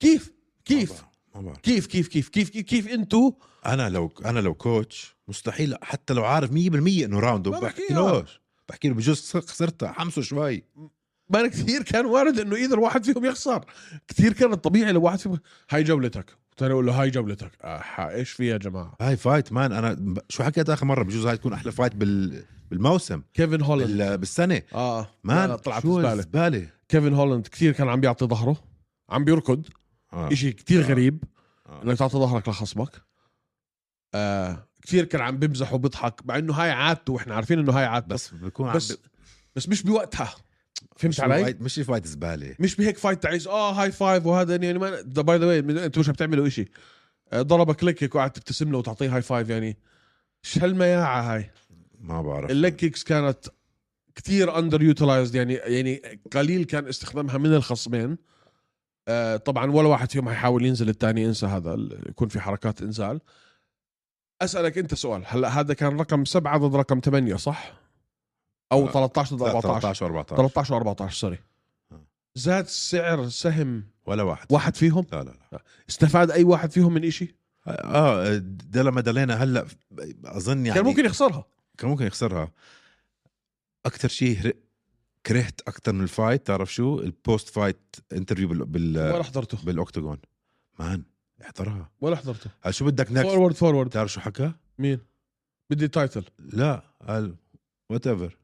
Speaker 2: كيف كيف
Speaker 1: ما بعرف.
Speaker 2: كيف كيف كيف كيف كيف, كيف انتوا
Speaker 1: انا لو انا لو كوتش مستحيل حتى لو عارف 100% انه راوند
Speaker 2: ما
Speaker 1: بحكي
Speaker 2: بحكيها.
Speaker 1: لهش بحكي له بجوز خسرت حمسه شوي
Speaker 2: ما أنا كثير كان وارد انه ايذر واحد فيهم يخسر كثير كان الطبيعي لو واحد فيهم هاي جولتك والثاني يقول له هاي جولتك أح- ايش في يا جماعه
Speaker 1: هاي فايت مان انا ب- شو حكيت اخر مره بجوز هاي تكون احلى فايت بال بالموسم
Speaker 2: كيفن هولاند
Speaker 1: بال... بالسنه
Speaker 2: اه
Speaker 1: مان
Speaker 2: لا، طلعت
Speaker 1: شو
Speaker 2: زباله
Speaker 1: الزباله
Speaker 2: كيفن هولاند كثير كان عم بيعطي ظهره عم بيركض
Speaker 1: آه.
Speaker 2: شيء
Speaker 1: آه.
Speaker 2: كثير غريب
Speaker 1: آه.
Speaker 2: انك تعطي ظهرك لخصمك آه كثير كان عم بيمزح وبيضحك مع انه هاي عادته واحنا عارفين انه هاي عادته بس
Speaker 1: بس بكون عم
Speaker 2: بس,
Speaker 1: ب-
Speaker 2: بس مش بوقتها فهمت
Speaker 1: مش
Speaker 2: علي؟
Speaker 1: فايت- مش فايت زباله
Speaker 2: مش بهيك فايت تعيس اه هاي فايف وهذا يعني ما باي ذا واي انتم مش عم تعملوا شيء ضربك لكك وقعدت تبتسم له وتعطيه هاي فايف يعني ايش هالمياعه هاي
Speaker 1: ما بعرف
Speaker 2: الليج كيكس كانت كثير اندر يوتلايزد يعني يعني قليل كان استخدامها من الخصمين آه، طبعا ولا واحد فيهم حيحاول ينزل الثاني انسى هذا ال- يكون في حركات انزال اسالك انت سؤال هلا هذا كان رقم سبعة ضد رقم ثمانية صح او
Speaker 1: آه،
Speaker 2: 13 ضد
Speaker 1: لا،
Speaker 2: 14
Speaker 1: 13 14
Speaker 2: 13 و14 سوري
Speaker 1: آه.
Speaker 2: زاد سعر سهم
Speaker 1: ولا واحد
Speaker 2: واحد فيهم
Speaker 1: لا لا لا
Speaker 2: استفاد اي واحد فيهم من إشي
Speaker 1: اه ديلا مادالينا هلا اظن يعني
Speaker 2: كان ممكن يخسرها
Speaker 1: كان ممكن يخسرها اكثر شيء هر- كرهت اكثر من الفايت تعرف شو البوست فايت انترفيو بال... بال...
Speaker 2: ولا حضرته
Speaker 1: بالاوكتاجون مان احضرها
Speaker 2: ولا حضرته
Speaker 1: قال شو بدك نكست
Speaker 2: فورورد فورورد
Speaker 1: تعرف شو حكى؟
Speaker 2: مين بدي تايتل
Speaker 1: لا قال وات ايفر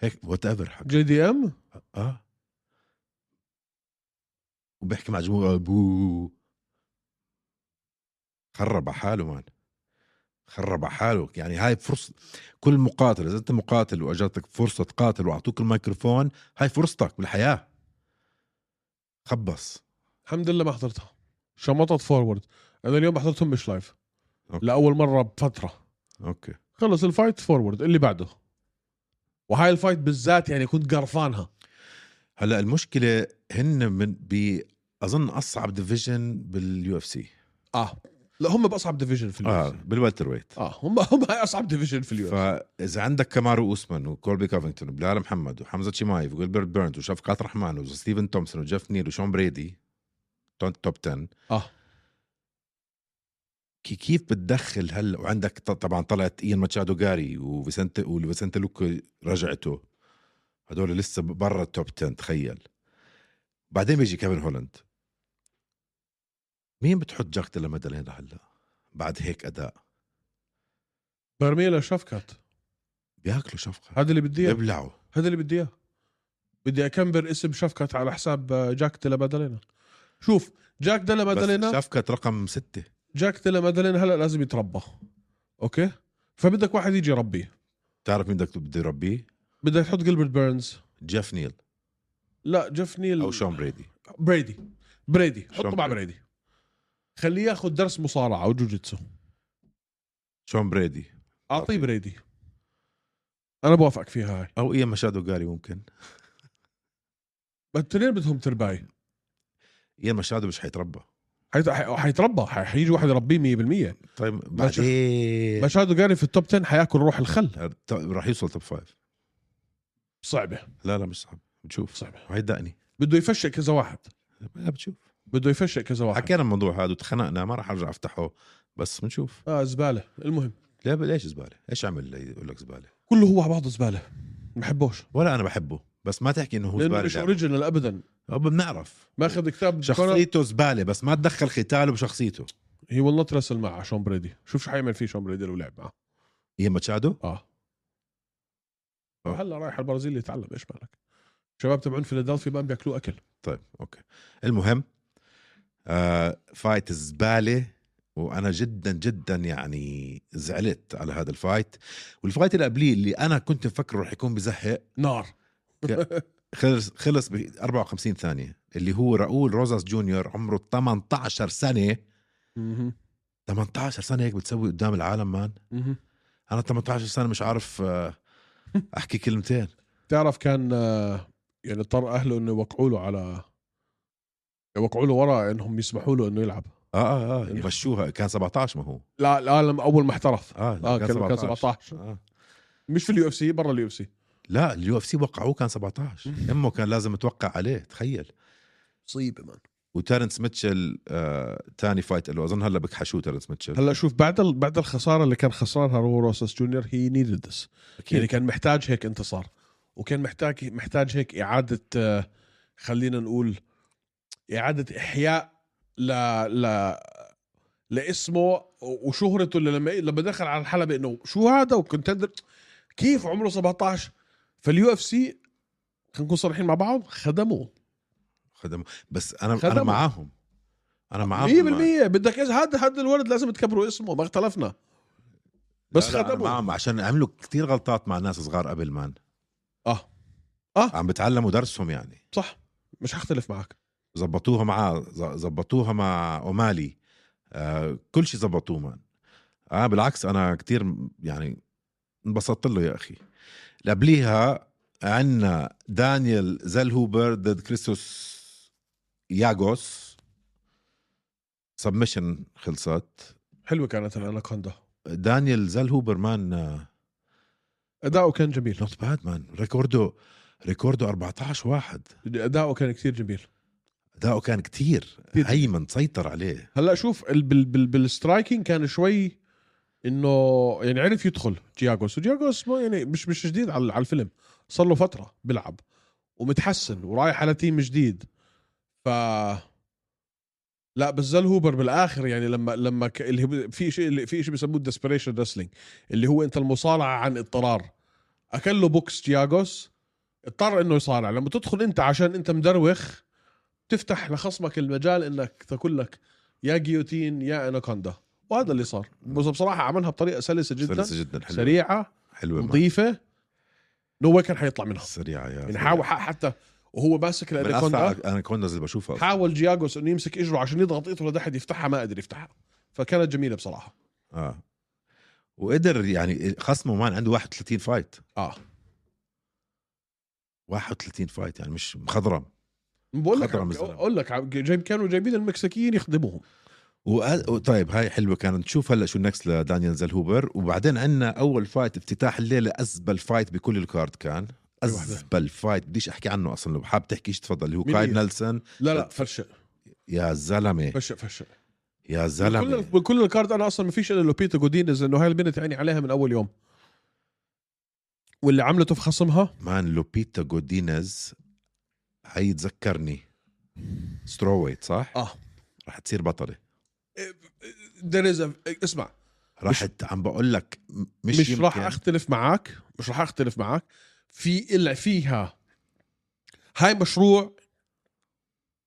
Speaker 1: هيك وات ايفر حكى
Speaker 2: جي دي ام
Speaker 1: اه وبيحكي مع جمهور بو خرب على حاله مان خرب على حاله يعني هاي فرصة كل مقاتل إذا أنت مقاتل وأجاتك فرصة تقاتل وأعطوك الميكروفون هاي فرصتك بالحياة خبص
Speaker 2: الحمد لله ما حضرتها شمطت فورورد انا اليوم ما حضرتهم مش لايف
Speaker 1: أوكي.
Speaker 2: لاول مره بفتره
Speaker 1: أوكي
Speaker 2: خلص الفايت فورورد اللي بعده وهاي الفايت بالذات يعني كنت قرفانها
Speaker 1: هلا المشكلة هن من ب أظن أصعب ديفيجن باليو اف سي
Speaker 2: اه لا هم باصعب ديفيجن في
Speaker 1: اه
Speaker 2: اليو
Speaker 1: بالوالتر ويت
Speaker 2: اه هم هم هاي اصعب ديفيجن في اليو
Speaker 1: فاذا عندك كامارو اوسمان وكولبي كافينغتون وبلال محمد وحمزه شمايف وجيلبرت بيرنز وشفقات رحمن وستيفن تومسون وجيف نيل وشون بريدي تون- توب 10
Speaker 2: اه
Speaker 1: كي- كيف بتدخل هلا وعندك ط- طبعا طلعت ايان ماتشادو جاري وفيسنت وفيسنت لوكو رجعته هدول لسه برا التوب 10 تخيل بعدين بيجي كيفن هولاند مين بتحط جاك ديلا مادالينا هلا بعد هيك اداء
Speaker 2: برميله شفكت
Speaker 1: بياكلوا شفقه
Speaker 2: هذا اللي بدي اياه
Speaker 1: بيبلعوا
Speaker 2: هذا اللي بدي اياه بدي اكمبر اسم شفكت على حساب آه، جاك ديلا مادالينا شوف جاك ديلا مادالينا
Speaker 1: بس شفكت رقم ستة
Speaker 2: جاك ديلا مادالينا هلا لازم يتربى اوكي فبدك واحد يجي يربيه
Speaker 1: تعرف مين بدك بده يربيه؟
Speaker 2: بدك تحط جilbert بيرنز
Speaker 1: جيف نيل
Speaker 2: لا جيف نيل
Speaker 1: او شون بريدي
Speaker 2: بريدي بريدي حطه
Speaker 1: شون
Speaker 2: مع
Speaker 1: بريدي.
Speaker 2: بريدي خليه ياخذ درس مصارعه او جوجيتسو
Speaker 1: شون بريدي
Speaker 2: اعطيه
Speaker 1: أعطيه.
Speaker 2: بريدي انا بوافقك فيها هاي
Speaker 1: او ايام مشادو جاري ممكن
Speaker 2: بس التنين بدهم تربايه
Speaker 1: ايام مشادو مش حيتربى
Speaker 2: حيت- حي- حيتربى حي- حيجي واحد يربيه 100%
Speaker 1: طيب
Speaker 2: مش-
Speaker 1: بعدين
Speaker 2: مشهد جاري في التوب 10 حياكل روح الخل
Speaker 1: ط- راح يوصل توب فايف
Speaker 2: صعبه
Speaker 1: لا لا مش صعب بتشوف
Speaker 2: صعبه
Speaker 1: وهيدقني
Speaker 2: بده يفشل كذا واحد
Speaker 1: لا بتشوف
Speaker 2: بده يفشل كذا واحد
Speaker 1: حكينا الموضوع هذا وتخنقنا ما راح ارجع افتحه بس بنشوف
Speaker 2: اه زباله المهم
Speaker 1: لا ب- ليش زباله؟ ايش عمل ليقول لك زباله؟
Speaker 2: كله هو على بعضه زباله ما بحبوش
Speaker 1: ولا انا بحبه بس ما تحكي انه هو
Speaker 2: لانه مش
Speaker 1: زباله
Speaker 2: اوريجينال ابدا
Speaker 1: لا. بنعرف
Speaker 2: ماخذ كتاب كونر-
Speaker 1: شخصيته زباله بس ما تدخل قتاله بشخصيته
Speaker 2: هي والله تراسل مع شون بريدي شوف شو حيعمل فيه شون بريدي لو لعب معه
Speaker 1: هي ماتشادو
Speaker 2: اه
Speaker 1: آه.
Speaker 2: هلا رايح البرازيل يتعلم ايش مالك شباب تبعون فيلادلفيا ما بياكلوا اكل
Speaker 1: طيب اوكي المهم آه فايت الزباله وانا جدا جدا يعني زعلت على هذا الفايت والفايت اللي قبليه اللي انا كنت مفكره رح يكون بزهق
Speaker 2: نار
Speaker 1: خلص خلص ب 54 ثانيه اللي هو راؤول روزاس جونيور عمره 18 سنه
Speaker 2: مهم.
Speaker 1: 18 سنه هيك بتسوي قدام العالم مان
Speaker 2: مهم.
Speaker 1: انا 18 سنه مش عارف آه، احكي كلمتين
Speaker 2: تعرف كان آه، يعني اضطر اهله انه يوقعوا له على يوقعوا له ورا انهم يسمحوا له انه يلعب
Speaker 1: اه اه اه يمشوها كان 17 ما هو
Speaker 2: لا لا لما اول ما احترف
Speaker 1: اه, لا،
Speaker 2: اه كان كان 17
Speaker 1: آه.
Speaker 2: مش في اليو اف سي برا اليو اف سي
Speaker 1: لا اليو اف سي وقعوه كان 17 امه كان لازم توقع عليه تخيل
Speaker 2: مصيبه مان
Speaker 1: وتيرنس ميتشل آه، تاني فايت له اظن هلا بكحشوه تيرنس ميتشل
Speaker 2: هلا شوف بعد ال... بعد الخساره اللي كان خسرانها رو روسس جونيور هي نيدد ذس يعني كان محتاج هيك انتصار وكان محتاج محتاج هيك اعاده آه، خلينا نقول اعاده احياء ل ل لاسمه وشهرته اللي لما لما دخل على الحلبه انه شو هذا وكونتندر كيف عمره 17 فاليو اف سي خلينا نكون صريحين مع بعض خدموه
Speaker 1: خدم بس انا انا
Speaker 2: خدمه.
Speaker 1: معاهم انا
Speaker 2: 100%
Speaker 1: معاهم
Speaker 2: بدك إيش- هذا هذا الولد لازم تكبروا اسمه ما اختلفنا بس
Speaker 1: لا، لا، أنا
Speaker 2: خدموه
Speaker 1: معاهم عشان عملوا كتير غلطات مع ناس صغار قبل مان
Speaker 2: اه
Speaker 1: عم بتعلموا درسهم يعني
Speaker 2: صح مش هختلف معك
Speaker 1: زبطوها مع ز- زبطوها مع اومالي آه كل شيء زبطوه مان آه بالعكس انا كتير م- يعني انبسطت له يا اخي اللي قبليها عندنا دانيال زلهوبر ضد كريستوس ياغوس سبمشن خلصت
Speaker 2: حلوه كانت الاناكوندا
Speaker 1: دانيال زلهوبر مان
Speaker 2: اداؤه كان جميل
Speaker 1: نوت باد مان ريكورده ريكورده 14 واحد
Speaker 2: اداؤه كان كثير جميل
Speaker 1: اداؤه كان كتير
Speaker 2: كتير.
Speaker 1: هيمن سيطر عليه
Speaker 2: هلا شوف ال- بال بال بالسترايكينج كان شوي انه يعني عرف يدخل جياغوس وجياغوس ما يعني مش مش جديد على على الفيلم صار له فتره بيلعب ومتحسن ورايح على تيم جديد ف لا بس زل هوبر بالاخر يعني لما لما ك... اللي هو- في شيء اللي في شيء بيسموه الديسبريشن رسلينج اللي هو انت المصارعه عن اضطرار اكله بوكس جياغوس اضطر انه يصارع لما تدخل انت عشان انت مدروخ تفتح لخصمك المجال انك تقول لك يا جيوتين يا اناكوندا وهذا اللي صار بس بصراحه عملها بطريقه سلسه جدا
Speaker 1: سلسة جدا حلوة
Speaker 2: سريعه
Speaker 1: حلوة مان.
Speaker 2: نظيفه نو واي كان حيطلع منها
Speaker 1: سريعة يا
Speaker 2: يعني حاول ح- حتى وهو ماسك
Speaker 1: من اسرع
Speaker 2: الاناكوندا
Speaker 1: الاناكونداز اللي بشوفها أصلاً.
Speaker 2: حاول جياغوس انه يمسك اجره عشان يضغط ايده لحد يفتحها ما قدر يفتحها فكانت جميله بصراحه
Speaker 1: اه وقدر يعني خصمه مان عنده 31 فايت
Speaker 2: اه
Speaker 1: 31 فايت يعني مش مخضرم
Speaker 2: بقول لك
Speaker 1: خطرة من الزلمة.
Speaker 2: اقول لك جايب كانوا جايبين المكسيكيين يخدموهم
Speaker 1: وقال- وطيب هاي حلوه كانت نشوف هلا شو النكست لدانيال زلهوبر وبعدين عندنا اول فايت افتتاح الليله ازبل فايت بكل الكارد كان
Speaker 2: أي واحدة.
Speaker 1: ازبل فايت بديش احكي عنه اصلا لو حاب تحكي ايش تفضل اللي هو
Speaker 2: مين
Speaker 1: كايل
Speaker 2: هي؟
Speaker 1: نيلسون
Speaker 2: لا لا فرشق
Speaker 1: يا زلمه
Speaker 2: فرشق فرشق
Speaker 1: إيه. يا
Speaker 2: كل
Speaker 1: زلمه
Speaker 2: بكل الكارد انا اصلا ما فيش الا لوبيتا جودينز انه هاي البنت عيني عليها من اول يوم واللي عملته في خصمها
Speaker 1: مان لوبيتا جودينيز هي تذكرني سترويت صح؟
Speaker 2: اه
Speaker 1: رح تصير بطله
Speaker 2: there is a- إيه، اسمع
Speaker 1: رحت عم بقول لك م- مش,
Speaker 2: مش, مش راح
Speaker 1: يمكن.
Speaker 2: اختلف معك مش راح اختلف معك في اللي فيها هاي مشروع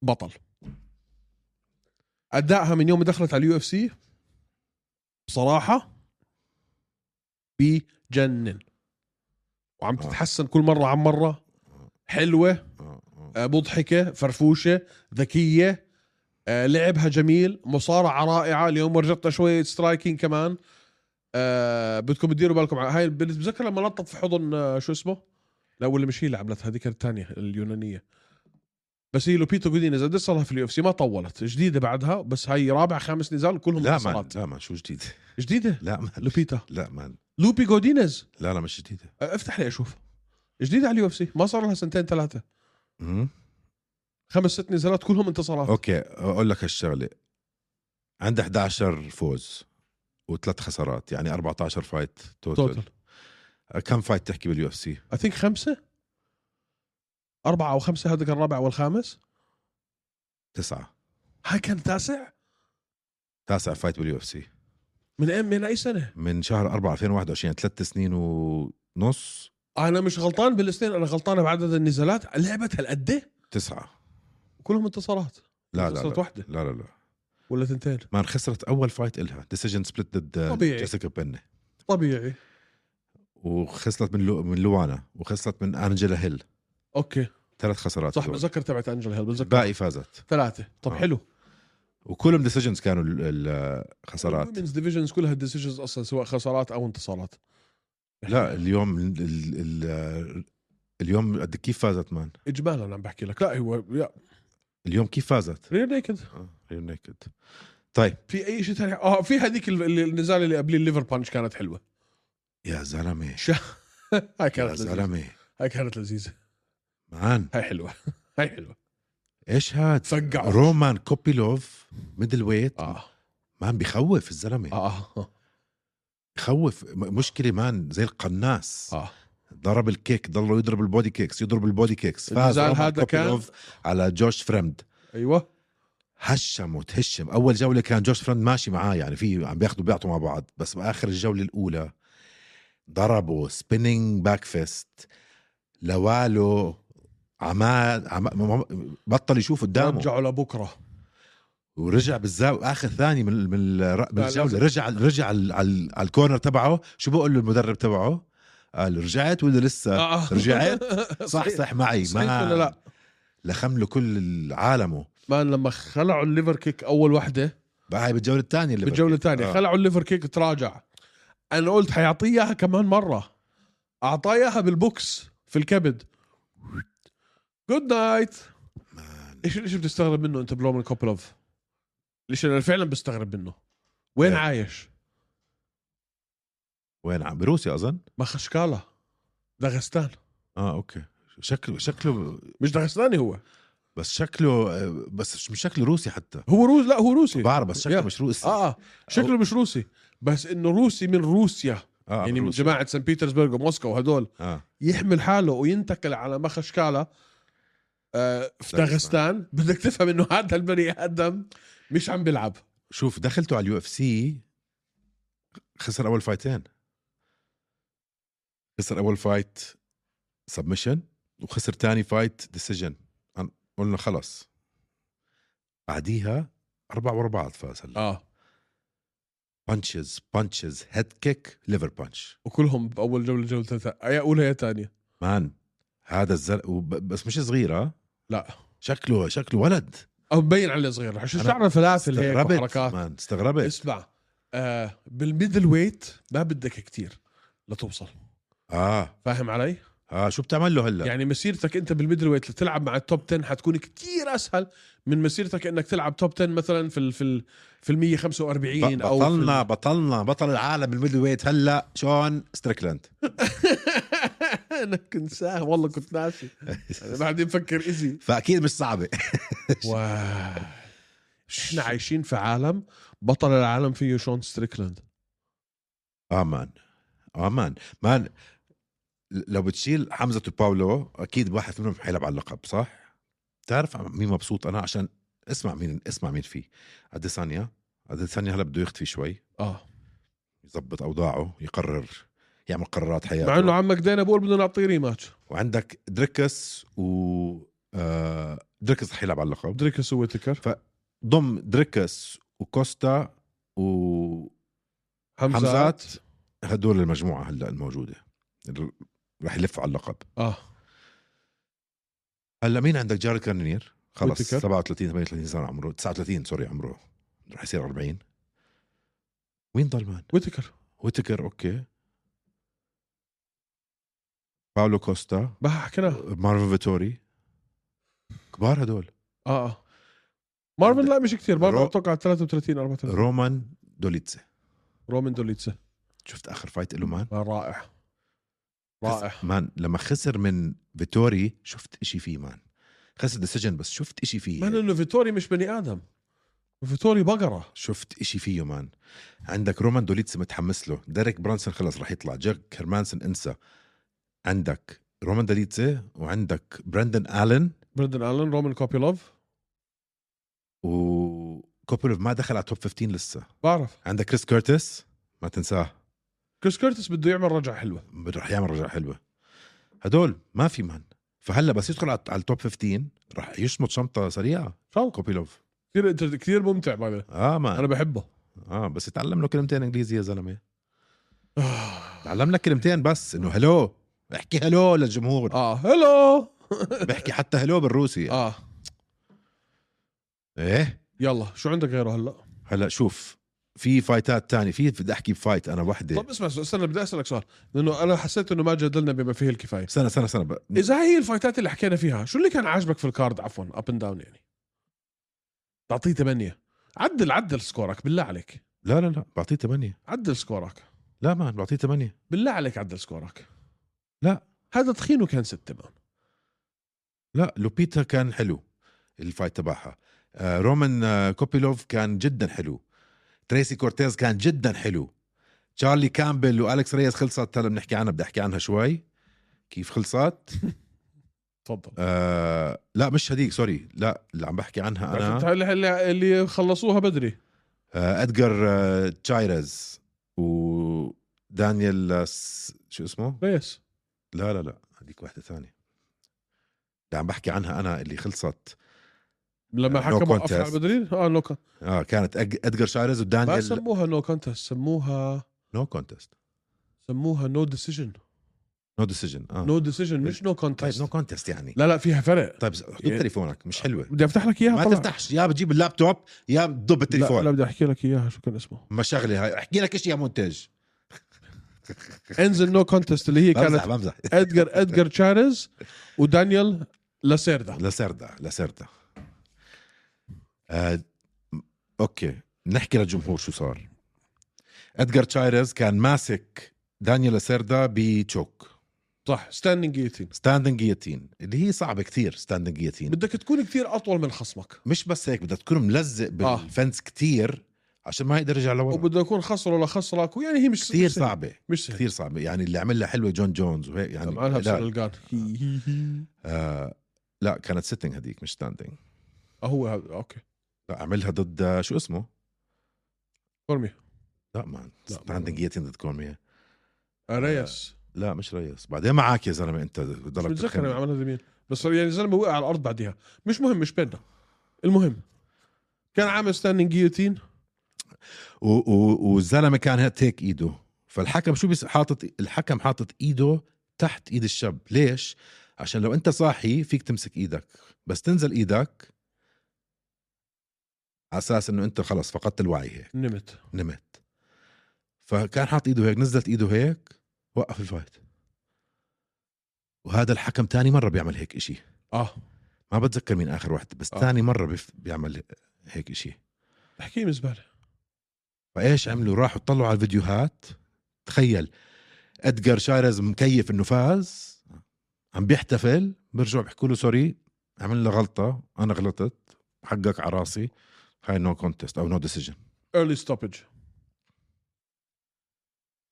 Speaker 2: بطل ادائها من يوم ما دخلت على اليو اف سي بصراحه بجنن وعم
Speaker 1: آه.
Speaker 2: تتحسن كل مره عن مره حلوه
Speaker 1: آه، آه.
Speaker 2: آه، مضحكه فرفوشه ذكيه آه، لعبها جميل مصارعه رائعه اليوم رجعتنا شويه سترايكين كمان آه، بدكم تديروا بالكم على هاي البنت بتذكر لما نطت في حضن آه، شو اسمه لا ولا مش هي اللي عملتها هذيك الثانيه اليونانيه بس هي لوبيتو جودينيز قد صار لها في اليو اف سي ما طولت جديده بعدها بس هاي رابع خامس نزال كلهم
Speaker 1: لا مان
Speaker 2: انتصارات
Speaker 1: لا مان شو جديد
Speaker 2: جديده
Speaker 1: لا مان
Speaker 2: لوبيتا
Speaker 1: لا مان
Speaker 2: لوبي جودينيز
Speaker 1: لا لا مش جديده
Speaker 2: آه، افتح لي اشوف جديده على اليو اف سي ما صار لها سنتين ثلاثه
Speaker 1: مم؟
Speaker 2: خمس ست نزالات كلهم انتصارات
Speaker 1: اوكي اقول لك هالشغله عندها 11 فوز وثلاث خسارات يعني 14 فايت توتال
Speaker 2: توتال
Speaker 1: كم فايت تحكي باليو اف سي
Speaker 2: اي ثينك خمسه اربعه او خمسه هذا كان الرابع والخامس
Speaker 1: تسعه
Speaker 2: هاي كان تاسع
Speaker 1: تاسع فايت باليو اف سي
Speaker 2: من أي- من اي سنه
Speaker 1: من شهر 4 2021 ثلاث سنين ونص
Speaker 2: انا مش غلطان بالاثنين انا غلطان بعدد النزالات لعبت هالقد
Speaker 1: تسعه
Speaker 2: كلهم انتصارات
Speaker 1: لا لا
Speaker 2: انتصارات
Speaker 1: لا
Speaker 2: واحده
Speaker 1: لا لا, لا.
Speaker 2: ولا ثنتين
Speaker 1: مان خسرت اول فايت الها ديسيجن سبلت ضد
Speaker 2: طبيعي.
Speaker 1: جيسيكا بني
Speaker 2: طبيعي
Speaker 1: وخسرت من لو... من لوانا وخسرت من انجела هيل
Speaker 2: اوكي
Speaker 1: ثلاث خسارات
Speaker 2: صح
Speaker 1: هدول.
Speaker 2: بتذكر تبعت انجل هيل بتذكر
Speaker 1: باقي فازت
Speaker 2: ثلاثه طب
Speaker 1: آه.
Speaker 2: حلو
Speaker 1: وكلهم ديسيجنز كانوا ال- ال- الخسارات
Speaker 2: الومنز ديفيجنز كلها ديسيجنز اصلا سواء خسارات او انتصارات
Speaker 1: لا اليوم ال... ال... ال... اليوم قد كيف فازت مان
Speaker 2: اجمالا عم بحكي لك لا هو يا
Speaker 1: اليوم كيف فازت
Speaker 2: رير نيكد
Speaker 1: ريو نيكد طيب
Speaker 2: في اي شيء ثاني اه في هذيك ال- ال- النزال اللي قبليه الليفر بانش كانت حلوه
Speaker 1: يا زلمه
Speaker 2: هاي
Speaker 1: يا
Speaker 2: كانت لذيذه
Speaker 1: زلمه
Speaker 2: هاي كانت لذيذه
Speaker 1: مان
Speaker 2: هاي حلوه هاي حلوه
Speaker 1: ايش هاد
Speaker 2: فقعوا
Speaker 1: رومان كوبيلوف ميدل ويت
Speaker 2: اه
Speaker 1: مان بخوف الزلمه
Speaker 2: اه
Speaker 1: بخوف م- مشكله مان زي القناص
Speaker 2: اه
Speaker 1: ضرب الكيك ضل يضرب البودي كيكس يضرب البودي كيكس فاز
Speaker 2: النزال
Speaker 1: رومان
Speaker 2: هذا كان-
Speaker 1: كوبيلوف على جوش فريند
Speaker 2: ايوه
Speaker 1: هشم وتهشم اول جوله كان جوش فريند ماشي معاه يعني في عم بياخذوا بيعطوا مع بعض بس باخر الجوله الاولى ضربه سبيننج باك فيست لواله عماد عم... بطل يشوف قدامه
Speaker 2: رجعوا لبكره
Speaker 1: ورجع بالزاو اخر ثاني من من, الر- من
Speaker 2: لا،
Speaker 1: الجوله
Speaker 2: لازم.
Speaker 1: رجع رجع على, على, على الكورنر تبعه شو بقول له المدرب تبعه قال رجعت ولا لسه
Speaker 2: آه.
Speaker 1: رجعت؟ صح صح معي
Speaker 2: صحيح ولا
Speaker 1: ما
Speaker 2: لا
Speaker 1: لخم له كل عالمه
Speaker 2: مان لما خلعوا الليفر كيك اول وحده
Speaker 1: بقى هاي بالجوله الثانيه اللي
Speaker 2: بالجوله الثانيه
Speaker 1: آه.
Speaker 2: خلعوا الليفر كيك تراجع انا قلت حيعطيه اياها كمان مره اعطاه اياها بالبوكس في الكبد جود نايت
Speaker 1: مان،
Speaker 2: ايش ايش بتستغرب منه انت بلومن كوبلوف ليش انا فعلا بستغرب منه وين
Speaker 1: إيه.
Speaker 2: عايش
Speaker 1: وين عم بروسيا اظن
Speaker 2: مخشكالا داغستان
Speaker 1: اه اوكي شكله شكله
Speaker 2: مش داغستاني هو
Speaker 1: بس شكله آه، بس مش- مش شكله روسي حتى
Speaker 2: هو روس لا هو روسي
Speaker 1: بعرف بس شكله
Speaker 2: يا.
Speaker 1: مش روسي
Speaker 2: اه اه شكله مش روسي بس انه روسي من روسيا
Speaker 1: آه
Speaker 2: يعني من
Speaker 1: روسي.
Speaker 2: جماعه سان بيترسبرغ وموسكو وهدول
Speaker 1: اه
Speaker 2: يحمل حاله وينتقل على مخشكالا آه في داغستان بدك تفهم انه هذا البني ادم مش عم بيلعب
Speaker 1: شوف دخلته على اليو اف سي خسر اول فايتين خسر اول فايت سبمشن وخسر تاني فايت ديسيجن قلنا خلص بعديها اربع ورا بعض فاز هلا
Speaker 2: اه
Speaker 1: بانشز بانشز هيد كيك ليفر بانش
Speaker 2: وكلهم باول جوله جوله ثلاثة آه، يا اولى يا ثانيه
Speaker 1: مان هذا الزل وب- بس مش صغير ها
Speaker 2: لا
Speaker 1: شكله شكله ولد
Speaker 2: او مبين عليه صغير عشان
Speaker 1: أنا
Speaker 2: شعره فلافل طيب هيك
Speaker 1: استغربت
Speaker 2: وحركات
Speaker 1: مان استغربت
Speaker 2: اسمع آه بالميدل ويت ما بدك كتير لتوصل
Speaker 1: اه
Speaker 2: فاهم علي؟
Speaker 1: اه شو بتعمل له هلا
Speaker 2: يعني مسيرتك انت بالميدل ويت لتلعب مع التوب 10 حتكون كتير اسهل من مسيرتك انك تلعب توب 10 مثلا في ال في ال في ال 145
Speaker 1: ب-
Speaker 2: او يعني في ال-
Speaker 1: بطلنا بطلنا بطل العالم بالميدل ويت هلا شون ستريكلاند
Speaker 2: انا كنت ساهر والله كنت ناسي أنا بعدين بفكر ايزي
Speaker 1: فاكيد مش صعبه
Speaker 2: احنا عايشين في عالم بطل العالم فيه شون ستريكلاند
Speaker 1: اه مان اه مان مان لو بتشيل حمزه وباولو اكيد واحد منهم حيلعب على اللقب صح؟ بتعرف عم- مين مبسوط انا عشان اسمع مين اسمع مين فيه اديسانيا اديسانيا هلا بده يختفي شوي
Speaker 2: اه
Speaker 1: يظبط اوضاعه يقرر يعمل قرارات حياته
Speaker 2: مع انه عمك دينا بول بدنا نعطيه ريماتش
Speaker 1: وعندك دريكس و آه دريكس رح يلعب على اللقب
Speaker 2: دريكس ويتكر
Speaker 1: ضم دريكس وكوستا وهدول
Speaker 2: حمزات
Speaker 1: حمزات. المجموعه هلا الموجوده اللي رح يلفوا على اللقب
Speaker 2: اه
Speaker 1: هلا مين عندك جاري كارنير خلص
Speaker 2: ويتكر.
Speaker 1: 37 38 سنه عمره 39 سوري عمره رح يصير 40 وين ضلمان؟
Speaker 2: ويتكر
Speaker 1: ويتكر اوكي باولو كوستا
Speaker 2: بقى حكيناها
Speaker 1: مارفن فيتوري كبار هدول
Speaker 2: اه اه مارفن لا مش كثير مارفن
Speaker 1: رو-
Speaker 2: اتوقع 33 34
Speaker 1: رومان دوليتسي
Speaker 2: رومن دوليتسا
Speaker 1: شفت اخر فايت له مان
Speaker 2: آه، رائع رائع
Speaker 1: مان لما خسر من فيتوري شفت اشي فيه مان خسر ديسيجن بس شفت اشي فيه
Speaker 2: مع انه فيتوري مش بني ادم فيتوري بقره
Speaker 1: شفت اشي فيه مان عندك رومان دوليتس متحمس له ديريك برانسون خلص رح يطلع جاك هرمانسون انسى عندك رومان دوليتس وعندك براندن الن
Speaker 2: بردن الن رومان كوبيلوف
Speaker 1: وكوبولوف ما دخل على توب 15 لسه
Speaker 2: بعرف
Speaker 1: عندك كريس كورتس ما تنساه
Speaker 2: كريس كورتس بده يعمل رجعه حلوه
Speaker 1: رح يعمل رجعه حلوه هدول ما في مهن فهلا بس يدخل على على التوب 15 رح يشمط شنطه سريعه
Speaker 2: شو
Speaker 1: كوبيلوف
Speaker 2: كثير انت كثير ممتع بعدين
Speaker 1: اه ما
Speaker 2: انا بحبه
Speaker 1: اه بس يتعلم له كلمتين انجليزي يا زلمه تعلم لك كلمتين بس انه هلو احكي هلو للجمهور
Speaker 2: اه هلو
Speaker 1: بحكي حتى هلو بالروسي
Speaker 2: اه
Speaker 1: ايه
Speaker 2: يلا شو عندك غيره هلا
Speaker 1: هلا شوف في فايتات تانية في بدي احكي بفايت انا وحده
Speaker 2: طب اسمع استنى بدي اسالك سؤال لانه انا حسيت انه ما جدلنا بما فيه الكفايه
Speaker 1: سنه سنه سنه بقى.
Speaker 2: اذا هي الفايتات اللي حكينا فيها شو اللي كان عاجبك في الكارد عفوا اب اند داون يعني تعطيه ثمانية عدل عدل سكورك بالله عليك
Speaker 1: لا لا لا بعطيه ثمانية
Speaker 2: عدل سكورك
Speaker 1: لا ما بعطيه ثمانية
Speaker 2: بالله عليك عدل سكورك
Speaker 1: لا.
Speaker 2: هذا تخينه كان ستة مان
Speaker 1: لا لوبيتا كان حلو الفايت تبعها آه رومان آه كوبيلوف كان جدا حلو تريسي كورتيز كان جدا حلو تشارلي كامبل والكس ريس خلصت هلا بنحكي عنها بدي احكي عنها شوي كيف خلصت
Speaker 2: تفضل
Speaker 1: آه لا مش هديك سوري لا اللي عم بحكي عنها انا
Speaker 2: عرفت اللي- اللي, اللي خلصوها بدري
Speaker 1: آه، ادجر آه، تشايرز ودانيال آه، س- شو اسمه؟
Speaker 2: ريس
Speaker 1: لا لا لا هذيك واحدة ثانية اللي عم بحكي عنها انا اللي خلصت
Speaker 2: لما
Speaker 1: No
Speaker 2: حكموا no
Speaker 1: contest.
Speaker 2: على بدري اه نو no con-
Speaker 1: اه كانت أج- ادجر تشايرز
Speaker 2: ما
Speaker 1: ودانيال
Speaker 2: سموها نو كونتست سموها
Speaker 1: نو كونتست
Speaker 2: سموها نو ديسيجن
Speaker 1: نو ديسيجن اه
Speaker 2: نو ديسيجن مش نو
Speaker 1: طيب
Speaker 2: كونتست
Speaker 1: نو كونتست يعني
Speaker 2: لا لا فيها فرق
Speaker 1: طيب حط
Speaker 2: يعني-
Speaker 1: تليفونك مش حلوة
Speaker 2: بدي افتح لك اياها
Speaker 1: ما
Speaker 2: طلع.
Speaker 1: تفتحش يا بتجيب اللابتوب يا بتضب
Speaker 2: لا, لا
Speaker 1: التليفون
Speaker 2: بدي احكي لك اياها شو كان اسمه
Speaker 1: ما شغلة هاي احكي لك ايش يا منتج
Speaker 2: انزل نو كونتست اللي هي
Speaker 1: بمزح
Speaker 2: كانت
Speaker 1: بمزح
Speaker 2: ادجر ادجر تشاريز ودانيال لاسيردا
Speaker 1: لسردة لسردة آه، م- اوكي نحكي للجمهور شو صار ادجار تشايرز كان ماسك دانيال لسردة بتشوك
Speaker 2: صح ستاندينج ايتين
Speaker 1: ستاندنج جيتين اللي هي صعبه كتير ستاندنج جيتين
Speaker 2: بدك تكون كثير اطول من خصمك
Speaker 1: مش بس هيك بدها تكون ملزق
Speaker 2: آه.
Speaker 1: بالفنس كتير عشان ما يقدر يرجع لورا
Speaker 2: وبده يكون خسره لخسرك ويعني يعني هي مش
Speaker 1: كتير
Speaker 2: مش سهلة.
Speaker 1: صعبه
Speaker 2: مش سهل
Speaker 1: كتير صعبه يعني اللي عملها حلوه جون جونز وهيك يعني
Speaker 2: طبعا هذا
Speaker 1: لا,
Speaker 2: القان
Speaker 1: آه لا كانت سيتنج هذيك مش ستاندنج
Speaker 2: هو هذا اوكي
Speaker 1: لا عملها ضد آه، شو اسمه
Speaker 2: كورمي
Speaker 1: لا مان
Speaker 2: لا،
Speaker 1: ستاندنج جيتين ضد كورميه
Speaker 2: آه،
Speaker 1: آه،
Speaker 2: ريس
Speaker 1: لا مش ريس بعدين معك يا زلمه انت
Speaker 2: مش
Speaker 1: ضربت
Speaker 2: متذكر أنا عملها مين بس يعني الزلمه وقع على الارض بعدها مش مهم مش بيننا المهم كان عامل ستاندينج جيوتين
Speaker 1: و- و- والزلمه كان هيك تيك ايده فالحكم شو بيس حاطط الحكم حاطط ايده تحت ايد الشاب ليش عشان لو انت صاحي فيك تمسك ايدك بس تنزل ايدك على اساس انه انت خلص فقدت الوعي هيك
Speaker 2: نمت
Speaker 1: نمت فكان حاط ايده هيك نزلت ايده هيك وقف الفايت وهذا الحكم تاني مره بيعمل هيك اشي
Speaker 2: اه
Speaker 1: ما بتذكر مين اخر واحد بس
Speaker 2: آه.
Speaker 1: تاني مره بيف- بيعمل هيك اشي
Speaker 2: تحكي من زباله
Speaker 1: فايش عملوا راحوا طلعوا على الفيديوهات تخيل ادجار شارز مكيف انه فاز عم بيحتفل برجعوا بيحكوا له سوري عملنا غلطه انا غلطت حقك على راسي هاي نو كونتست او نو ديسيجن
Speaker 2: early stoppage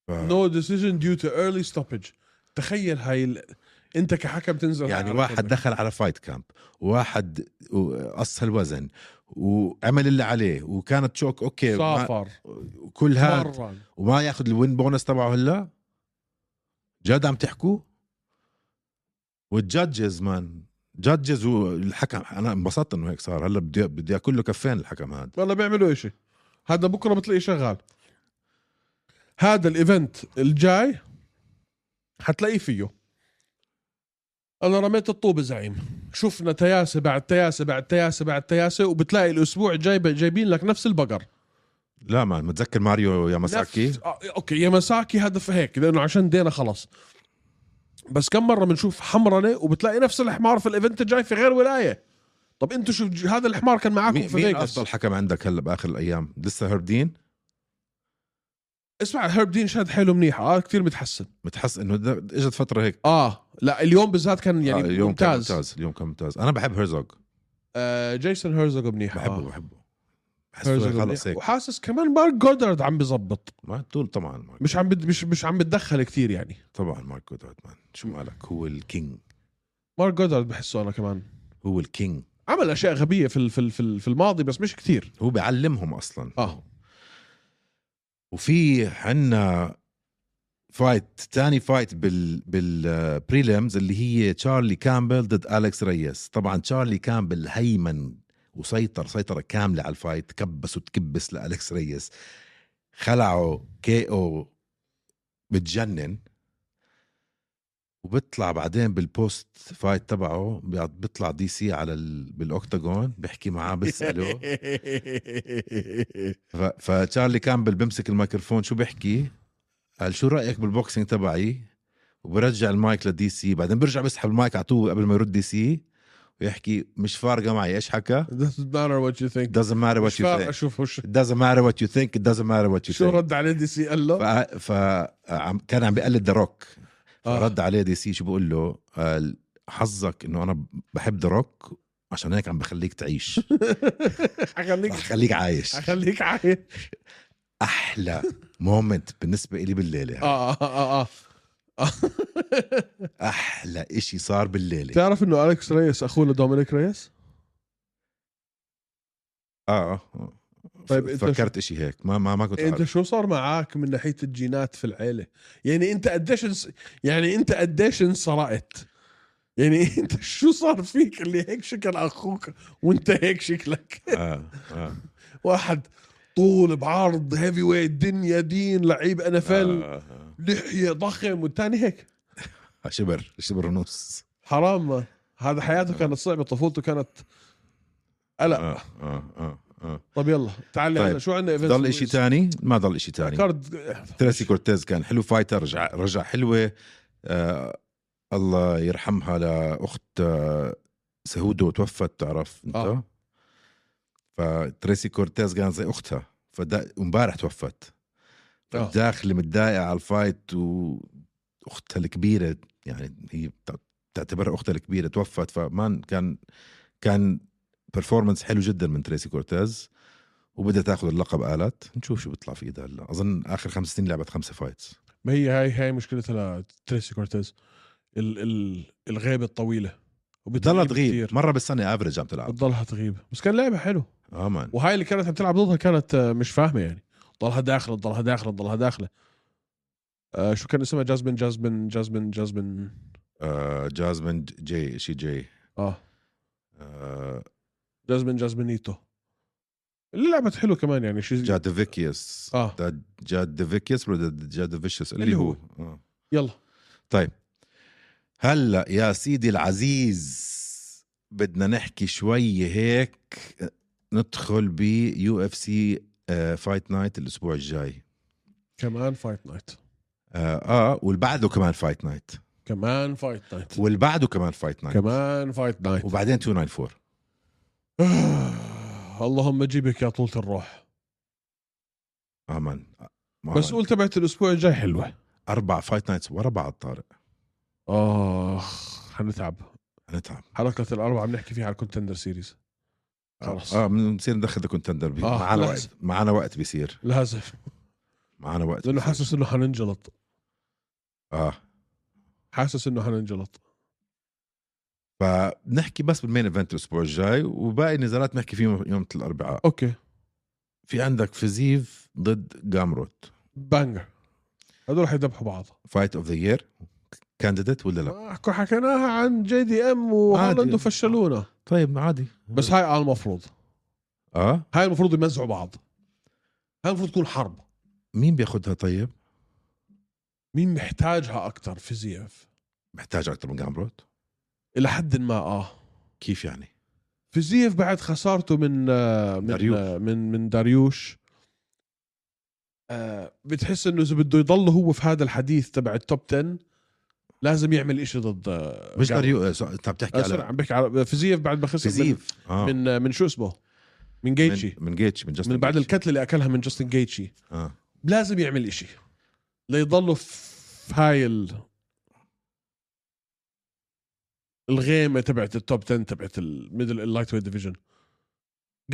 Speaker 1: ف...
Speaker 2: no decision due to early stoppage تخيل هاي ال... انت كحكم تنزل
Speaker 1: يعني
Speaker 2: على
Speaker 1: واحد
Speaker 2: الكورنر.
Speaker 1: دخل على فايت كامب واحد قص الوزن وعمل اللي عليه وكانت شوك اوكي ما...
Speaker 2: سافر
Speaker 1: كل هذا
Speaker 2: مرن
Speaker 1: وما ياخذ الوين بونس تبعه هلا جد عم تحكوا والجادجز مان جادجز والحكم انا انبسطت انه هيك صار هلا بدي بدي اكل له كفين الحكم هذا
Speaker 2: والله بيعملوا إشي هذا بكره بتلاقيه شغال هذا الايفنت الجاي حتلاقيه فيه انا رميت الطوب زعيم شفنا تياسه بعد تياسه بعد تياسه بعد تياسه وبتلاقي الاسبوع الجاي ب- جايبين لك نفس البقر
Speaker 1: لا مان متذكر ماريو يا مساكي
Speaker 2: نفس- آه، اوكي يا مساكي هذا في هيك لانه عشان دينا خلص بس كم مره بنشوف حمرنه وبتلاقي نفس الحمار في الايفنت الجاي في غير ولايه طب انتوا شو هذا الحمار كان معاكم
Speaker 1: مين,
Speaker 2: في
Speaker 1: مين
Speaker 2: فيجاس
Speaker 1: افضل حكم عندك هلا باخر الايام لسه هردين
Speaker 2: اسمع هيرب دين شاد حاله منيح اه كثير متحسن
Speaker 1: متحس انه ده- اجت فتره هيك
Speaker 2: اه لا اليوم بالذات كان يعني
Speaker 1: آه،
Speaker 2: آه
Speaker 1: اليوم كان
Speaker 2: ممتاز,
Speaker 1: ممتاز اليوم كان ممتاز انا بحب هرزوج
Speaker 2: آه جيسون هيرزوج منيح
Speaker 1: بحبه
Speaker 2: آه.
Speaker 1: بحبه حسوا خلص هيك
Speaker 2: وحاسس كمان مارك جودرد عم بزبط
Speaker 1: ما طول طبعا مارك
Speaker 2: مش عم بد مش مش عم بتدخل كثير يعني
Speaker 1: طبعا مارك جودرد مان شو مالك هو الكينج
Speaker 2: مارك جودرد بحسه انا كمان
Speaker 1: هو الكينج
Speaker 2: عمل اشياء غبيه في ال- في ال- في ال- في الماضي بس مش كثير
Speaker 1: هو بيعلمهم اصلا
Speaker 2: اه
Speaker 1: وفي عنا فايت تاني فايت بال بالبريليمز اللي هي تشارلي كامبل ضد اليكس ريس طبعا تشارلي كامبل هيمن وسيطر سيطره كامله على الفايت كبس وتكبس لالكس ريس خلعه كي او بتجنن وبيطلع بعدين بالبوست فايت تبعه بيطلع دي سي على ال... بالاوكتاجون بيحكي معاه بيساله ف- فتشارلي كامبل بمسك الميكروفون شو بيحكي قال شو رايك بالبوكسينج تبعي وبرجع المايك لدي سي بعدين برجع بسحب المايك على طول قبل ما يرد دي سي ويحكي مش فارقه معي ايش حكى
Speaker 2: doesn't matter what you think
Speaker 1: It doesn't matter what
Speaker 2: مش
Speaker 1: you
Speaker 2: فارقه
Speaker 1: think
Speaker 2: شوف وش
Speaker 1: It doesn't matter what you think It doesn't matter what you
Speaker 2: شو
Speaker 1: think
Speaker 2: رد عليه دي سي قال له
Speaker 1: ف... ف... عم- كان عم بقلد ذا روك
Speaker 2: آه.
Speaker 1: فرد عليه دي سي شو بقول له قال حظك انه انا بحب ذا روك عشان هيك عم بخليك تعيش
Speaker 2: حخليك
Speaker 1: رح خليك عايش
Speaker 2: حخليك عايش
Speaker 1: احلى مومنت بالنسبه لي بالليله
Speaker 2: اه اه
Speaker 1: آه،
Speaker 2: اه اه
Speaker 1: احلى اشي صار بالليله
Speaker 2: بتعرف انه اليكس ريس اخوه لدومينيك ريس؟
Speaker 1: اه آه.
Speaker 2: طيب
Speaker 1: ف-
Speaker 2: أنت
Speaker 1: فكرت اشي هيك ما ما ما كنت
Speaker 2: انت
Speaker 1: عارف
Speaker 2: شو صار معك من ناحيه الجينات في العيله؟ يعني انت قديش انس... يعني انت قديش انصرعت؟ يعني انت شو صار فيك اللي هيك شكل اخوك وانت هيك شكلك؟
Speaker 1: آه. آه.
Speaker 2: واحد طول بعرض هيفي ويت دنيا دين لعيب ان اف ال
Speaker 1: آه. آه.
Speaker 2: لحيه ضخم والثاني هيك
Speaker 1: آه. شبر شبر ونص
Speaker 2: حرام ما. هذا
Speaker 1: آه.
Speaker 2: حياته كانت صعبه طفولته كانت قلق
Speaker 1: اه اه اه اه
Speaker 2: طب يلا تعال
Speaker 1: طيب.
Speaker 2: هلا شو عندنا
Speaker 1: ضل اشي تاني ما ضل اشي تاني
Speaker 2: كارد
Speaker 1: تريسي كورتيز كان حلو فايتر رجع رجع حلوه آه. الله يرحمها لاخت آه، سهودو توفت تعرف انت
Speaker 2: آه.
Speaker 1: آه. فتريسي كورتيز كان زي اختها فدا امبارح توفت
Speaker 2: آه.
Speaker 1: داخله متضايقه على الفايت واختها الكبيره يعني هي بت- بتعتبرها اختها الكبيره توفت فمان كان كان برفورمانس حلو جدا من تريسي كورتيز وبدها تاخذ اللقب قالت نشوف شو بيطلع في ايدها هلا اظن اخر خمس سنين لعبت خمسه فايتس
Speaker 2: ما هي هاي هاي مشكلتها لتريسي كورتيز ال ال الغيبه الطويله
Speaker 1: بتضلها تغيب مره بالسنه افريج عم تلعب
Speaker 2: بتضلها تغيب بس كان لعبه حلو
Speaker 1: اه مان
Speaker 2: وهاي اللي كانت عم تلعب ضدها كانت آه، مش فاهمه يعني ضلها داخله ضلها داخله ضلها داخله آه شو كان اسمها جازمن جازمن جازمن جازمن
Speaker 1: آه جازمين جي شي جي
Speaker 2: اه
Speaker 1: آه
Speaker 2: جازمن جازمنيتو اللي لعبت حلو كمان يعني شيء
Speaker 1: جادفيكيوس
Speaker 2: آه.
Speaker 1: جادفيكيوس ولا جادفيشيوس اللي,
Speaker 2: اللي
Speaker 1: هو,
Speaker 2: هو.
Speaker 1: آه.
Speaker 2: يلا
Speaker 1: طيب هلا يا سيدي العزيز بدنا نحكي شوي هيك ندخل ب آه، يو اف سي فايت نايت الاسبوع الجاي
Speaker 2: كمان فايت نايت
Speaker 1: اه, آه واللي بعده كمان فايت نايت
Speaker 2: كمان فايت نايت
Speaker 1: واللي بعده كمان فايت نايت
Speaker 2: كمان فايت نايت
Speaker 1: وبعدين 294
Speaker 2: اللهم جيبك يا طولة الروح
Speaker 1: امان آه،
Speaker 2: بس
Speaker 1: آمان.
Speaker 2: قول تبعت الاسبوع الجاي حلوه
Speaker 1: اربع فايت نايتس ورا بعض طارق
Speaker 2: اخ حنتعب
Speaker 1: هنتعب
Speaker 2: حلقه الاربعاء بنحكي فيها على الكونتندر سيريز خلص.
Speaker 1: اه بنصير ندخل الكونتندر
Speaker 2: آه،
Speaker 1: معنا
Speaker 2: خلاص.
Speaker 1: وقت معنا وقت بيصير
Speaker 2: لازم
Speaker 1: معنا وقت
Speaker 2: لانه
Speaker 1: بيصير.
Speaker 2: حاسس انه حننجلط
Speaker 1: اه
Speaker 2: حاسس انه حننجلط
Speaker 1: فبنحكي بس بالمين ايفنت الاسبوع الجاي وباقي النزالات بنحكي فيهم يوم الاربعاء
Speaker 2: اوكي
Speaker 1: في عندك فيزيف ضد جامروت
Speaker 2: بانجر هذول حيذبحوا بعض
Speaker 1: فايت اوف ذا يير كانديديت ولا لا
Speaker 2: آه، كو- حكيناها عن جي دي ام وهالاند
Speaker 1: عادي.
Speaker 2: وفشلونا
Speaker 1: طيب عادي
Speaker 2: بس هاي على المفروض
Speaker 1: اه
Speaker 2: هاي المفروض يمزعوا بعض هاي المفروض تكون حرب
Speaker 1: مين بياخذها طيب
Speaker 2: مين محتاجها اكثر في زيف
Speaker 1: محتاج اكثر من جامروت
Speaker 2: الى حد ما اه
Speaker 1: كيف يعني
Speaker 2: فيزيف بعد خسارته من آه، من
Speaker 1: داريوش.
Speaker 2: آه، من من داريوش آه، بتحس انه اذا بده يضل هو في هذا الحديث تبع التوب 10 لازم يعمل إشي ضد آه،
Speaker 1: مش
Speaker 2: جامروت.
Speaker 1: داريو آه، سو- انت عم تحكي
Speaker 2: آه، سوري
Speaker 1: على
Speaker 2: عم بحكي على فيزيف بعد ما خسر من
Speaker 1: فيزيف اه
Speaker 2: من, آه، من شو اسمه من
Speaker 1: من,
Speaker 2: جيتشي
Speaker 1: من جيتش من جاستن
Speaker 2: من بعد
Speaker 1: جيتش.
Speaker 2: الكتله اللي اكلها من جاستن جيتشي
Speaker 1: اه
Speaker 2: لازم يعمل إشي ليضلوا في هاي ال... الغيمه تبعت التوب 10 تبعت الميدل اللايت ويت ديفيجن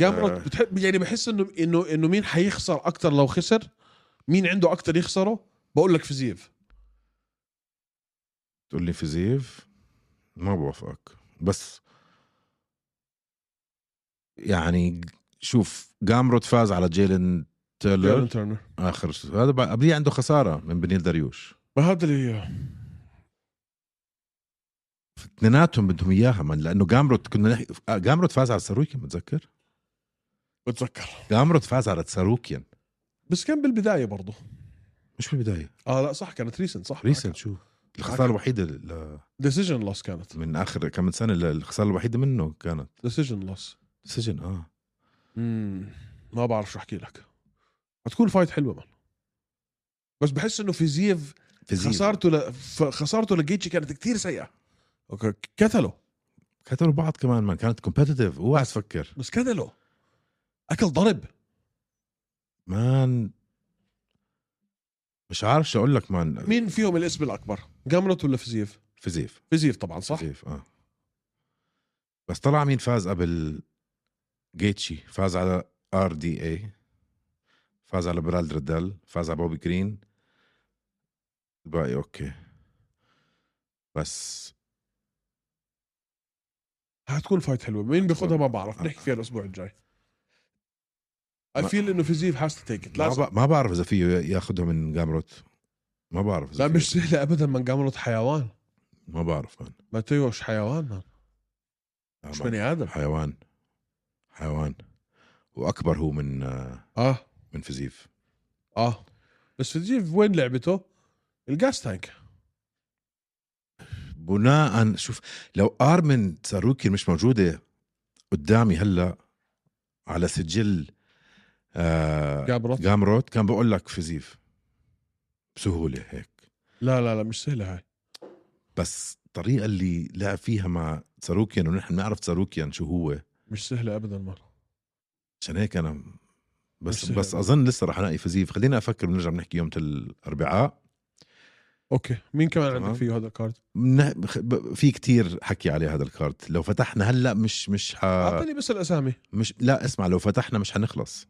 Speaker 2: قام
Speaker 1: آه.
Speaker 2: آه. بتحب يعني بحس انه انه انه مين حيخسر اكثر لو خسر مين عنده اكثر يخسره بقول لك فيزيف
Speaker 1: تقول لي فيزيف ما بوافقك بس يعني شوف جامروت فاز على جيلن تيلر
Speaker 2: جيرن تيرنر
Speaker 1: اخر س- هذا بقى- قبليه عنده خساره من بنيل دريوش
Speaker 2: ما هذا اللي
Speaker 1: اثنيناتهم بدهم اياها من لانه جامروت كنا نحكي آه، جامروت فاز على ساروكيان متذكر
Speaker 2: بتذكر
Speaker 1: جامروت فاز على ساروكيان
Speaker 2: بس كان بالبدايه برضه
Speaker 1: مش بالبدايه
Speaker 2: اه لا صح كانت ريسنت صح
Speaker 1: ريسنت شو الخساره الوحيده ل-
Speaker 2: ديسيجن لوس كانت
Speaker 1: من اخر كم من سنه الخساره الوحيده منه كانت
Speaker 2: ديسيجن لوس
Speaker 1: سجن اه
Speaker 2: امم ما بعرف شو احكي لك حتكون فايت حلوه من بس بحس انه فيزيف
Speaker 1: فيزيف
Speaker 2: خسارته ل... ف- خسارته لجيتشي كانت كتير سيئه اوكي كتله
Speaker 1: كتلوا بعض كمان ما كانت كومبتيتيف اوعى تفكر
Speaker 2: بس كتله اكل ضرب
Speaker 1: مان مش عارف شو اقول لك مان
Speaker 2: مين فيهم الاسم الاكبر جامروت ولا فيزيف
Speaker 1: فيزيف
Speaker 2: فيزيف طبعا صح
Speaker 1: فيزيف اه بس طلع مين فاز قبل جيتشي فاز على ار دي اي فاز على برالد ردل فاز على بوبي جرين الباقي اوكي بس
Speaker 2: هتكون فايت حلوه مين بياخدها ما بعرف نحكي فيها الاسبوع الجاي اي
Speaker 1: ما-
Speaker 2: فيل انه فيزيف هاز تو تيك ات
Speaker 1: ما,
Speaker 2: لازم
Speaker 1: ب... ما بعرف اذا فيه ياخذها من جامروت ما بعرف إذا
Speaker 2: لا
Speaker 1: فيه.
Speaker 2: مش سهله ابدا من جامروت حيوان
Speaker 1: ما بعرف مان
Speaker 2: ماتيوش حيوان مان مش
Speaker 1: ما-
Speaker 2: بني ادم
Speaker 1: حيوان حيوان واكبر هو من آه،
Speaker 2: اه
Speaker 1: من فيزيف
Speaker 2: اه بس فيزيف وين لعبته؟ الجاس تانك
Speaker 1: بناء شوف لو ارمن ساروكي مش موجوده قدامي هلا على سجل آه
Speaker 2: جابروت
Speaker 1: جامروت كان بقول لك فيزيف بسهوله هيك
Speaker 2: لا لا لا مش سهله هاي
Speaker 1: بس الطريقه اللي لعب فيها مع ساروكيان ونحن بنعرف ساروكيان شو هو
Speaker 2: مش سهله ابدا مان
Speaker 1: عشان هيك انا بس
Speaker 2: مش سهل.
Speaker 1: بس اظن لسه رح الاقي فيزيف خلينا افكر بنرجع بنحكي يوم الاربعاء
Speaker 2: اوكي مين كمان
Speaker 1: تمام.
Speaker 2: عندك فيه هذا الكارد؟
Speaker 1: منه- بخ- ب- في كتير حكي عليه هذا الكارت لو فتحنا هلا مش مش ح...
Speaker 2: اعطيني بس الاسامي
Speaker 1: آه. مش لا اسمع لو فتحنا مش حنخلص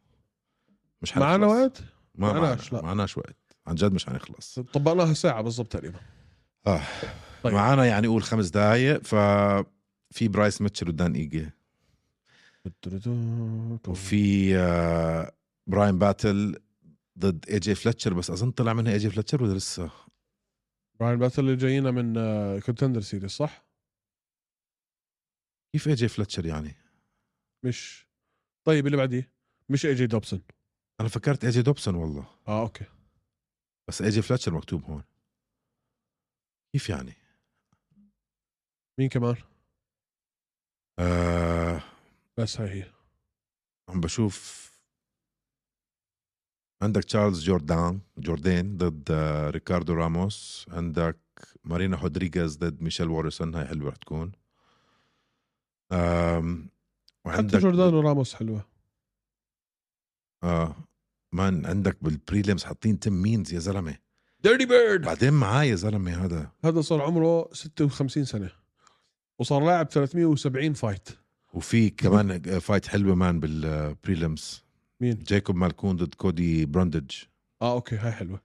Speaker 1: مش حنخلص
Speaker 2: معنا وقت؟
Speaker 1: ما
Speaker 2: معناش،
Speaker 1: معناش
Speaker 2: لا.
Speaker 1: معناش وقت عن جد مش حنخلص
Speaker 2: طبقناها ساعه بالضبط تقريبا
Speaker 1: اه
Speaker 2: طيب.
Speaker 1: طيب. معانا يعني قول خمس دقائق ف في برايس ميتشل ودان ايجي وفي آه، براين باتل ضد اي جي فلتشر بس اظن طلع منها اي جي فلتشر ولا لسه
Speaker 2: براين باتل اللي جايينا من كونتندر سيريز صح؟
Speaker 1: كيف اي جي فلتشر يعني
Speaker 2: مش طيب اللي بعديه مش اي جي دوبسون
Speaker 1: انا فكرت اي جي دوبسون والله
Speaker 2: اه اوكي
Speaker 1: بس اي جي فلتشر مكتوب هون كيف يعني
Speaker 2: مين كمان؟
Speaker 1: آه
Speaker 2: بس هاي هي
Speaker 1: عم بشوف عندك تشارلز جوردان جوردين ضد آه، ريكاردو راموس عندك مارينا هودريغيز ضد ميشيل وارسون هاي حلوه رح تكون آم،
Speaker 2: حتى جوردان وراموس حلوه
Speaker 1: اه مان عندك بالبريليمز حاطين تيم مينز يا زلمه
Speaker 2: ديرتي بيرد
Speaker 1: بعدين معاه يا زلمه هذا
Speaker 2: هذا صار عمره 56 سنه وصار لاعب 370 فايت
Speaker 1: وفي كمان فايت حلوه مان بالبريليمز
Speaker 2: مين؟
Speaker 1: جايكوب مالكون ضد كودي براندج
Speaker 2: اه اوكي هاي حلوه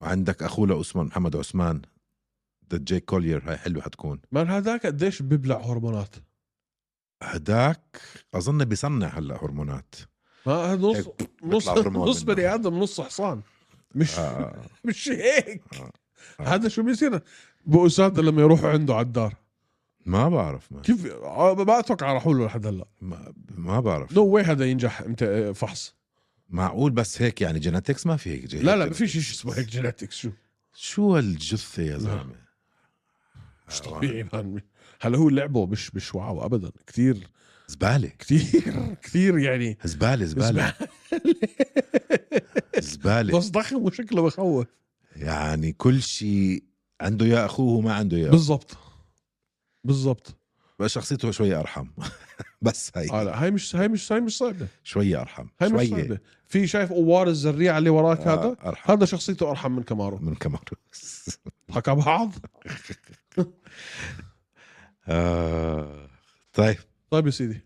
Speaker 1: وعندك اخوه لعثمان محمد عثمان ضد جاي كولير هاي حلوه حتكون
Speaker 2: مان هذاك قديش بيبلع هرمونات
Speaker 1: هداك اظن بيصنع هلا هرمونات
Speaker 2: ما هذا نص
Speaker 1: هيك
Speaker 2: نص
Speaker 1: هرمون
Speaker 2: نص
Speaker 1: منه.
Speaker 2: بني ادم نص حصان مش
Speaker 1: آه.
Speaker 2: مش هيك
Speaker 1: آه. آه.
Speaker 2: هذا شو بيصير بؤسات لما يروحوا عنده على الدار
Speaker 1: ما بعرف ما,
Speaker 2: كيف آه، ما اتوقع راحوا له لحد هلا
Speaker 1: ما, ما بعرف
Speaker 2: نو واي هذا ينجح امت... آه، فحص
Speaker 1: معقول بس هيك يعني جيناتكس ما في هيك جي-
Speaker 2: لا لا ما في شيء اسمه هيك جيناتكس
Speaker 1: آه،
Speaker 2: شو
Speaker 1: شو هالجثه يا آه، زلمه
Speaker 2: نعم. مش
Speaker 1: حيوان.
Speaker 2: طبيعي مان. هلا هو لعبه مش مش واو ابدا كثير
Speaker 1: زباله
Speaker 2: كثير كثير يعني
Speaker 1: زباله زباله زباله
Speaker 2: بس ضخم وشكله بخوف
Speaker 1: يعني كل شيء عنده يا اخوه وما عنده يا
Speaker 2: بالضبط بالضبط
Speaker 1: بس شخصيته شويه ارحم بس
Speaker 2: آه
Speaker 1: هي
Speaker 2: لا هاي مش هاي مش هاي مش صعبه
Speaker 1: شويه ارحم
Speaker 2: هاي مش
Speaker 1: شويه
Speaker 2: صعبه في شايف اوار الزريعه اللي وراك
Speaker 1: آه،
Speaker 2: هذا
Speaker 1: ارحم
Speaker 2: هذا شخصيته ارحم من كمارو
Speaker 1: من كمارو
Speaker 2: حكى بعض
Speaker 1: آه. طيب آه.
Speaker 2: طيب يا طيب سيدي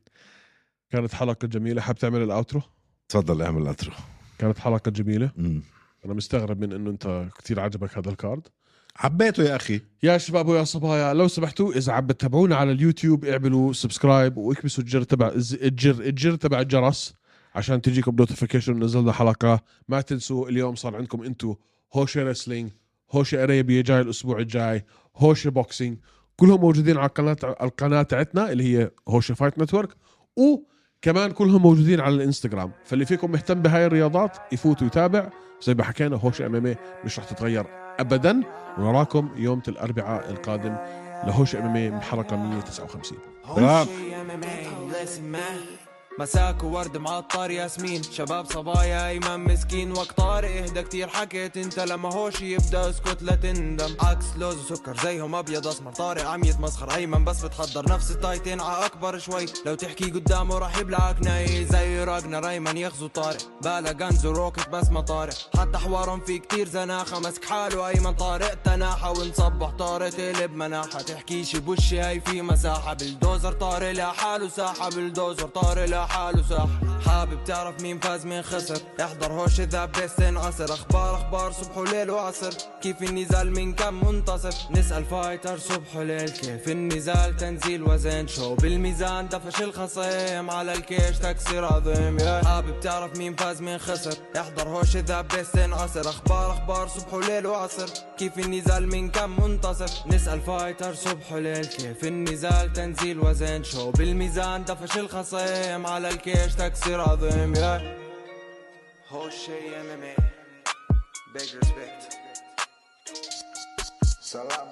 Speaker 2: كانت حلقه جميله حاب تعمل الاوترو
Speaker 1: تفضل اعمل الاترو
Speaker 2: كانت حلقه جميله
Speaker 1: مم.
Speaker 2: انا مستغرب من انه انت كثير عجبك هذا الكارد
Speaker 1: حبيته يا اخي
Speaker 2: يا شباب ويا صبايا لو سمحتوا اذا عم بتتابعونا على اليوتيوب اعملوا سبسكرايب واكبسوا الجر تبع الز- الجر الجر تبع الجرس عشان تجيكم نوتيفيكيشن نزلنا حلقه ما تنسوا اليوم صار عندكم انتو هوشه ريسلينج هوشه اريبيا جاي الاسبوع الجاي هوشه بوكسينج كلهم موجودين على القناه القناه تاعتنا اللي هي هوشه فايت نتورك وكمان كلهم موجودين على الانستغرام فاللي فيكم مهتم بهاي الرياضات يفوت ويتابع زي ما حكينا هوشه امامي إيه مش رح تتغير ابدا ونراكم يوم الاربعاء القادم لهوش امامي من حلقه 159
Speaker 1: تمام.
Speaker 3: مساك وورد معطر ياسمين شباب صبايا ايمن مسكين وقت طارق اهدى كتير حكيت انت لما هوش يبدا اسكت لا تندم عكس لوز وسكر زيهم ابيض اسمر طارق عم يتمسخر ايمن بس بتحضر نفس التايتين ع اكبر شوي لو تحكي قدامه راح يبلعك ناي زي راجنا ريمان يغزو طارق بالا غنز وروكت بس ما طارق حتى حوارهم في كتير زناخه مسك حاله ايمن طارق تناحه ونصبح طارق تقلب مناحه تحكيش بوشي هاي في مساحه بلدوزر طارق لحاله ساحه بلدوزر طارق لحاله ساحه حابب تعرف مين فاز مين خسر احضر هوش ذا بس انعصر اخبار اخبار صبح وليل وعصر كيف النزال من كم منتصف نسال فايتر صبح وليل كيف النزال تنزيل وزن شو بالميزان دفش الخصيم على الكيش تكسير عظيم يا حابب تعرف مين فاز مين خسر احضر هوش ذا بس انعصر اخبار اخبار صبح وليل وعصر كيف النزال من كم منتصف نسال فايتر صبح وليل كيف النزال تنزيل وزن شو بالميزان دفش الخصيم على الكيش تكسير عظيم يا هوشي إيه. MMA Big respect
Speaker 4: Salam